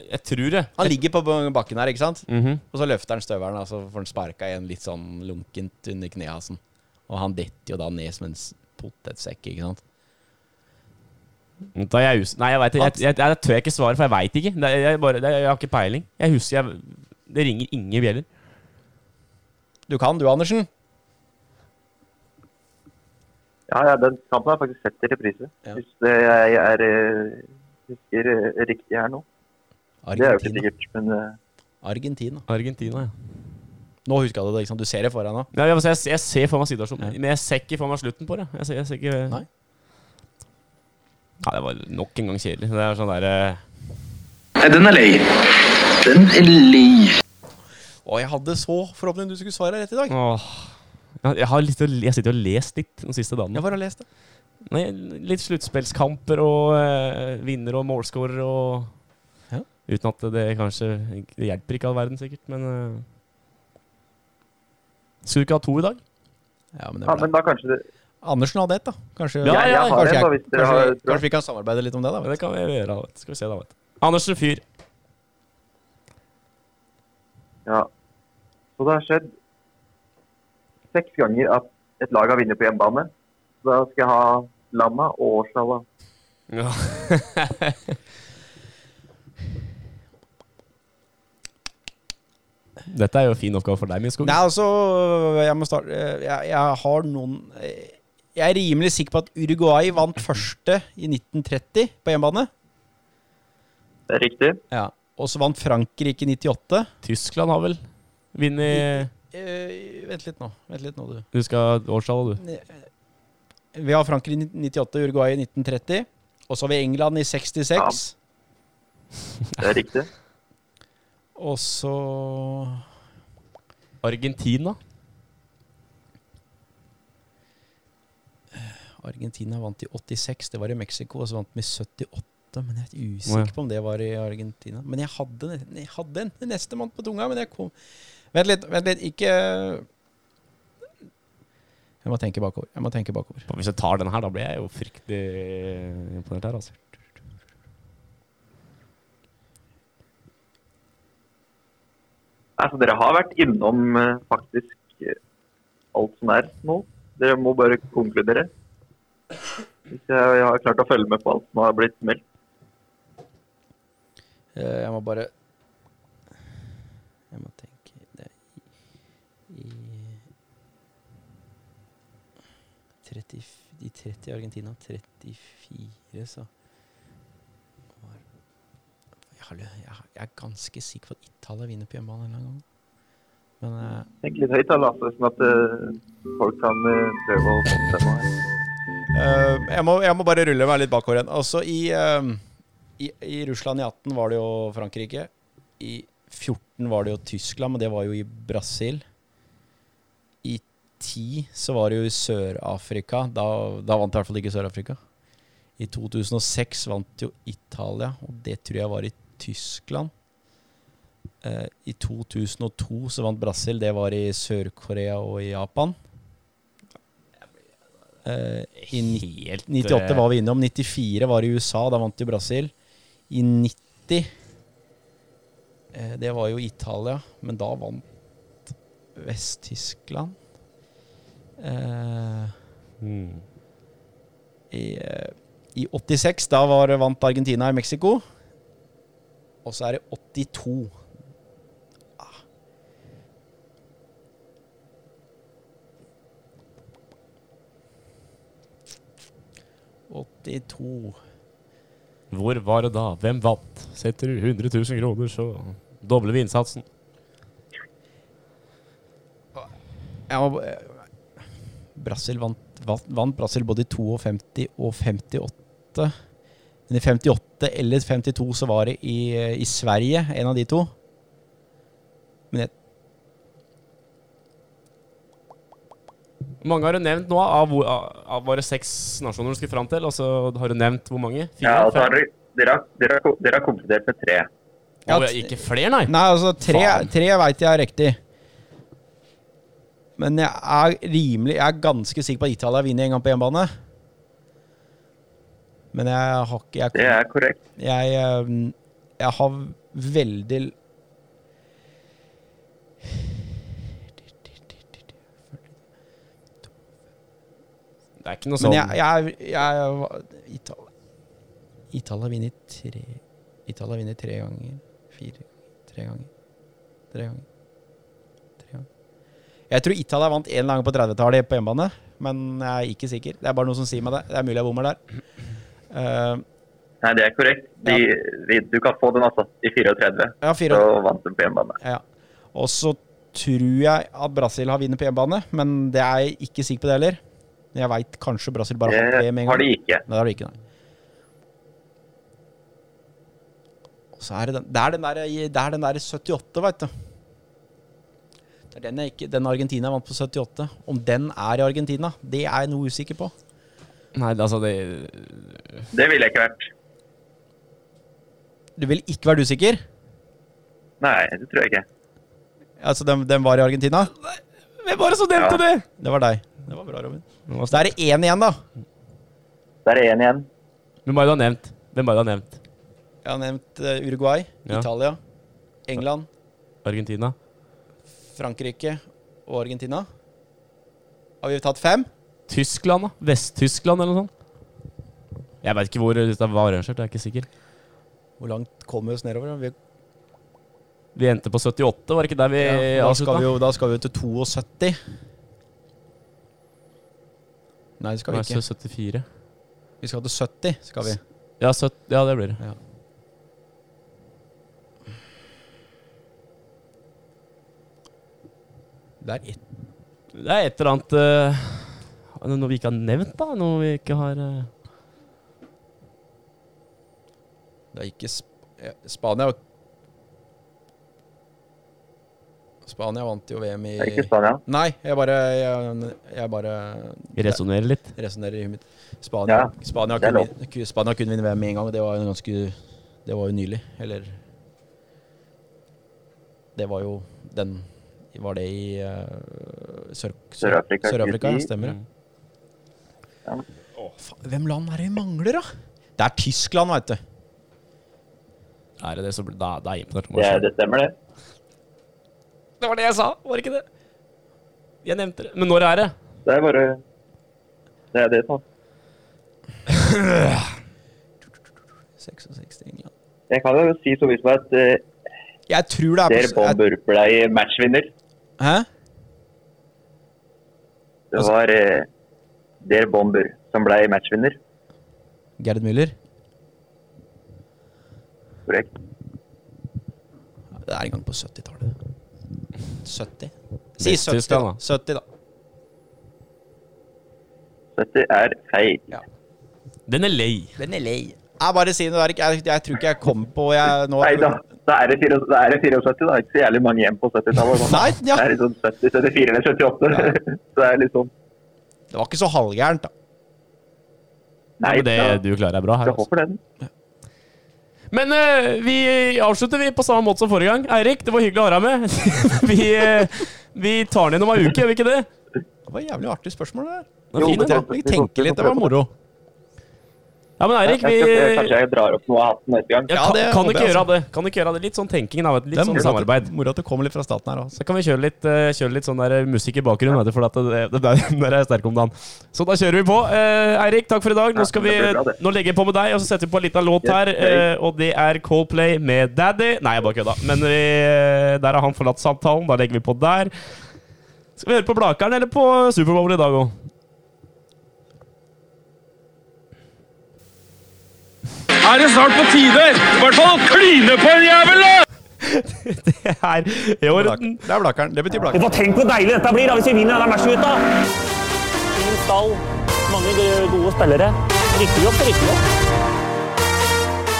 B: Jeg tror det.
C: Han ligger på bakken her, ikke sant?
B: Mhm.
C: Og så løfter han støvelen, og så får han sparka igjen litt sånn lunkent under knehasen. Og han detter jo da ned som en s- potetsekk, ikke sant?
B: Da er jeg us Nei, jeg vet, det. jeg, jeg, jeg, jeg tør jeg ikke svare, for jeg veit ikke. Det, jeg, bare, det, jeg har ikke peiling. Jeg husker jeg, Det ringer ingen bjeller.
C: Du kan du, Andersen.
D: ja, ja, den kampen har jeg faktisk sett i reprise.
C: Ja.
D: Hvis det jeg er, eh, husker eh, riktig her nå. Det er jo ikke
C: Argentina.
D: sikkert, men eh,
C: Argentina.
B: Argentina, ja.
C: Nå huska du det, ikke sant? Du ser det foran nå.
B: Nei, jeg, jeg, jeg ser for meg situasjonen,
C: Ja.
B: men jeg ser ikke for meg slutten på det. Jeg ser, jeg ser ikke
C: Nei.
B: Nei, det var nok en gang kjedelig. Det er sånn derre
E: Nei, den er lei. Den er lei.
C: Å, jeg hadde så forhåpning du skulle svare rett i dag.
B: Åh. Jeg, jeg, har litt, å- jeg sitter og lest litt de siste dagene.
C: Jeg bare leste.
B: Nei, litt sluttspillskamper og uh, vinner og målscorer og
C: Ja.
B: Uten at det kanskje Det hjelper ikke all verden, sikkert, men eh, Skulle du ikke ha to i dag?
C: Ja, men det
D: ja,
C: ble.
D: men da kanskje det
C: Andersen hadde ett, da. Kanskje,
B: Ja,
D: Jeg,
B: ja,
D: jeg har
C: kanskje,
D: en, da,
C: jeg,
D: hvis dere har
C: kanskje, kanskje vi kan samarbeide litt om det, da.
B: Ja, det
C: Vet.
B: kan vi gjøre. vet du. Skal vi se, da. vet du Andersen Fyr.
D: Ja. Så det har skjedd seks ganger at et lag har vunnet på hjemmebane. Da skal jeg ha Lama og Årsala.
B: Ja. Dette er jo en fin oppgave for deg, Min Skog.
C: Nei, altså Jeg må starte Jeg, jeg har noen Jeg er rimelig sikker på at Uruguay vant første i 1930 på hjemmebane.
D: Det er riktig.
C: Ja. Og så vant Frankrike i 98.
B: Tyskland har vel vunnet
C: Eh, vent litt nå. Vent litt nå, du.
B: Du husker årstallet, du?
C: Vi har Frankrike i 98, Uruguay i 1930. Og så har vi England i 66.
D: Det er riktig.
C: Og så
B: Argentina?
C: Argentina vant i 86, det var i Mexico, og så vant de i 78. Men jeg er usikker
B: Å, ja.
C: på om det var i Argentina. Men jeg hadde, jeg hadde en nestemann på tunga, men jeg kom Vent litt, vent litt, ikke Jeg må tenke bakover. Jeg må tenke bakover.
B: Hvis jeg tar den her, da blir jeg jo fryktelig imponert her, altså.
D: Nei, så Altså, dere har vært innom eh, faktisk eh, alt som er nå. Dere må bare konkludere. Hvis jeg har klart å følge med på alt som har blitt meldt.
C: Eh, Jeg må bare Jeg må tenke det er i, i 30, De 30 i Argentina 34, så var- jeg, har, lø- jeg, har- jeg er ganske sikker på at Italia vinner på hjemmebane en eller annen gang. Men eh,
D: Tenk litt høyt, da, Lasse, sånn at eh, folk kan eh, prøve å bestemme her.
C: Eh, jeg, må, jeg må bare rulle meg litt bakover igjen. Altså i, eh, i, I Russland i 18 var det jo Frankrike. I 14 var det jo Tyskland, men det var jo i Brasil. I 10 så var det jo i Sør-Afrika. Da, da vant i hvert fall ikke Sør-Afrika. I 2006 vant jo Italia, og det tror jeg var i Tyskland. Eh, I 2002 så vant Brasil. Det var i Sør-Korea og i Japan. Eh, I
B: Helt
C: 98 var vi innom. 94 var i USA, da vant jo Brasil. I 90 eh, Det var jo Italia, men da vant Vest-Tyskland. Eh,
B: Mm.
C: i, eh, I 86, da var, vant Argentina i Mexico. Og så er det 82. Ah. Åttito
B: Hvor var det da? Hvem vant? Setter du 100 000 kroner, så dobler vi innsatsen.
C: Ja, og, eh, Brasil vant, vant, vant Brasil både i 52 og 58. Men i 58 eller 52 så var det i, eh, i Sverige, en av de to. Men jeg,
B: Mange har du nevnt nå av, hvor- av, av våre seks nasjoner du skulle fram til, og så har du nevnt hvor mange? Fire?
D: Ja, og så har
B: fem?
D: dere, dere, har- dere, har- dere har konkludert med tre.
C: Ja,
B: Å, ja, ikke flere, nei?
C: nei, altså tre,
B: Faen.
C: tre veit jeg er riktig. Men jeg er rimelig Jeg er ganske sikker på at Italia vinner en gang på hjemmebane. Men jeg har ikke jeg,
D: Det er korrekt.
C: Jeg, eh, jeg har veldig l-
B: Det er ikke noe sånn
C: Men jeg, jeg, jeg, Italia Italia vinner tre Italia vinner tre ganger. Fire Tre ganger. Tre ganger. Tre ganger. Jeg tror Italia vant én gang på 30-tallet på hjemmebane, men jeg er ikke sikker. Det er bare noe som sier meg det. Det er mulig jeg bommer der. Eh,
D: Nei, det er korrekt. De, de, du kan få den, altså. I 34.
C: jeg har fire
D: Så vant de på hjemmebane.
C: Ja. Og så tror jeg at Brasil har vunnet på hjemmebane, men det er jeg ikke sikker på det heller. Jeg veit kanskje Brasil bare har hatt
D: Det
C: det med en
D: Eh, har
C: gang.
D: de ikke.
C: Nei, det har de ikke, nei. Og så er det den Det er den der, det er den der 78, veit du. Det er den, jeg ikke, den Argentina vant på 78. Om den er i Argentina, det er jeg noe usikker på.
B: Nei, altså, det
D: Det ville jeg ikke vært.
C: Du vil ikke være usikker?
D: Nei, det tror jeg ikke.
C: Altså, den, den var i Argentina?
B: Hvem var det som nevnte
D: Ja.
B: det?
C: Det var deg. Det var bra, Robin.
B: var
C: Så da er det én igjen, da.
D: Der er én igjen.
B: Hvem var det du har nevnt? Hvem var det du har nevnt?
C: Jeg har nevnt eh, Uruguay,
B: Ja.
C: Italia, England,
B: Argentina?
C: Frankrike og Argentina. Har vi tatt fem?
B: Tyskland, da? Vest-Tyskland eller noe sånt? Jeg veit ikke hvor det var arrangert, jeg er ikke sikker.
C: Hvor langt kommer vi oss nedover? da? Vi,
B: Vi endte på 78, var det ikke der vi
C: ja, da, skal
B: avslutta?
C: vi jo, da skal vi jo til 72. Nei, det skal vi
B: Nei,
C: ikke.
B: så 74.
C: Vi skal til 70. skal vi.
B: Ja, 70, ja, det blir det.
C: Ja. Det er ett
B: Det er et eller annet eh, Noe vi ikke har nevnt, da. Noe vi ikke har eh,
C: Det er ikke Sp ja, Spania var- Spania vant jo VM i
D: Det er ikke Spania.
C: Nei, jeg bare Jeg, jeg bare
B: resonnerer litt.
C: resonnerer i huet mitt. Spania,
D: Ja,
C: Spania,
D: det er
C: kunne, vin- ku- Spania kunne vinne VM med en gang, og det var jo ganske Det var jo nylig. Eller Det var jo den Var det i eh, Sør-
D: Sør-Afrika,
C: Sør-Afrika, ja,
D: 2010.
C: stemmer det.
B: Mm.
D: Ja.
C: Å, faen, Hvem land er det vi mangler, da? Det er Tyskland, veit du.
B: Er det det som blir Da, da er jeg imponert. over
D: Det,
B: meg selv.
D: det stemmer, det.
B: Det var det jeg sa, var det ikke det? Jeg nevnte det. Men når er det?
D: Det er bare Det er det, sånn.
C: 66 England.
D: Jeg kan jo si så vidt som at eh,
C: Jeg tror det er
D: Der
C: på,
D: Bon
C: jeg,
D: bør ble matchvinner.
C: Hæ?
D: Det var eh, Der Bomber som ble matchvinner.
C: Gerhard Müller?
D: Korrekt.
C: Det er en gang på 70-tallet. 70? Si 70, da.
B: Vest-Tyskland,
C: 70, da.
D: Dette er feil.
B: Den er lei.
C: Den er lei. Jeg bare sier noe der. Jeg, jeg tror ikke jeg kom på jeg, nå.
D: Nei da, da er det 74, da er det 74 da. Ikke så jævlig mange hjem på 70-tallet. sånn.
C: Nei, ja.
D: Det er liksom 70, 74 eller 78. *laughs* Så det er litt sånn
C: Det var ikke så halvgærent, da.
D: Nei,
B: Men det
D: da,
B: du klarer deg bra her.
D: det
B: Altså.
D: hopper den.
B: Men eh, vi avslutter vi på samme måte som forrige gang. Eirik, det var hyggelig å ha deg med. *laughs* vi, eh, vi tar den igjen om ei uke, gjør vi ikke det?
C: Det var et jævlig artig spørsmål, det der.
B: Det var
D: Jo,
B: fint,
D: det-
B: det.
C: Jeg tenker litt, det var moro.
B: Ja, men
D: Jeg
B: Eirik,
D: skal,
B: vi
D: jeg, kanskje jeg drar opp noe av hatten neste gang.
B: ja,
C: Ja,
B: kan,
C: det
B: kan du
C: håper
B: ikke
C: jeg
B: gjøre av det. Kan du ikke gjøre av det? Litt sånn tenking, da. vet du. Litt sånn
C: moro at det-
B: samarbeid.
C: Moro at det kommer litt fra staten her. Altså.
B: Så kan vi kjøre litt, eh, kjøre litt sånn der musikk i bakgrunnen, vet du, for at det, det, det, den der *laughs* er sterk om dagen. Så da kjører vi på. Eh, Eirik, takk for i dag. Nå, skal vi,
D: Ja, det blir bra, det.
B: nå legger jeg på med deg, og så setter vi på en liten låt her. eh, og det er Coldplay med 'Daddy'. Nei, jeg bare kødda. Men vi, eh, der har han forlatt samtalen. Da legger vi på der. Skal vi høre på Blakeren eller på Superbowl i dag òg?
F: Er det snart på tide? I hvert fall å kline på en jævel, da!
B: *laughs* Det er i orden.
C: Det er Blakeren. Det betyr Blakeren.
G: Og tenk hvor deilig dette blir da, hvis vi vinner denne matchen ut, da! Fin stall, mange gode spillere. Rykker vi opp, så rykker vi opp.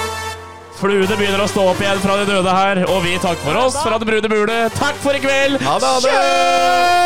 B: Fluene begynner å stå opp igjen fra de døde her, og vi takker for oss fra det brune bule. Takk for i kveld.
C: Ha det, ha det.
B: Kjør!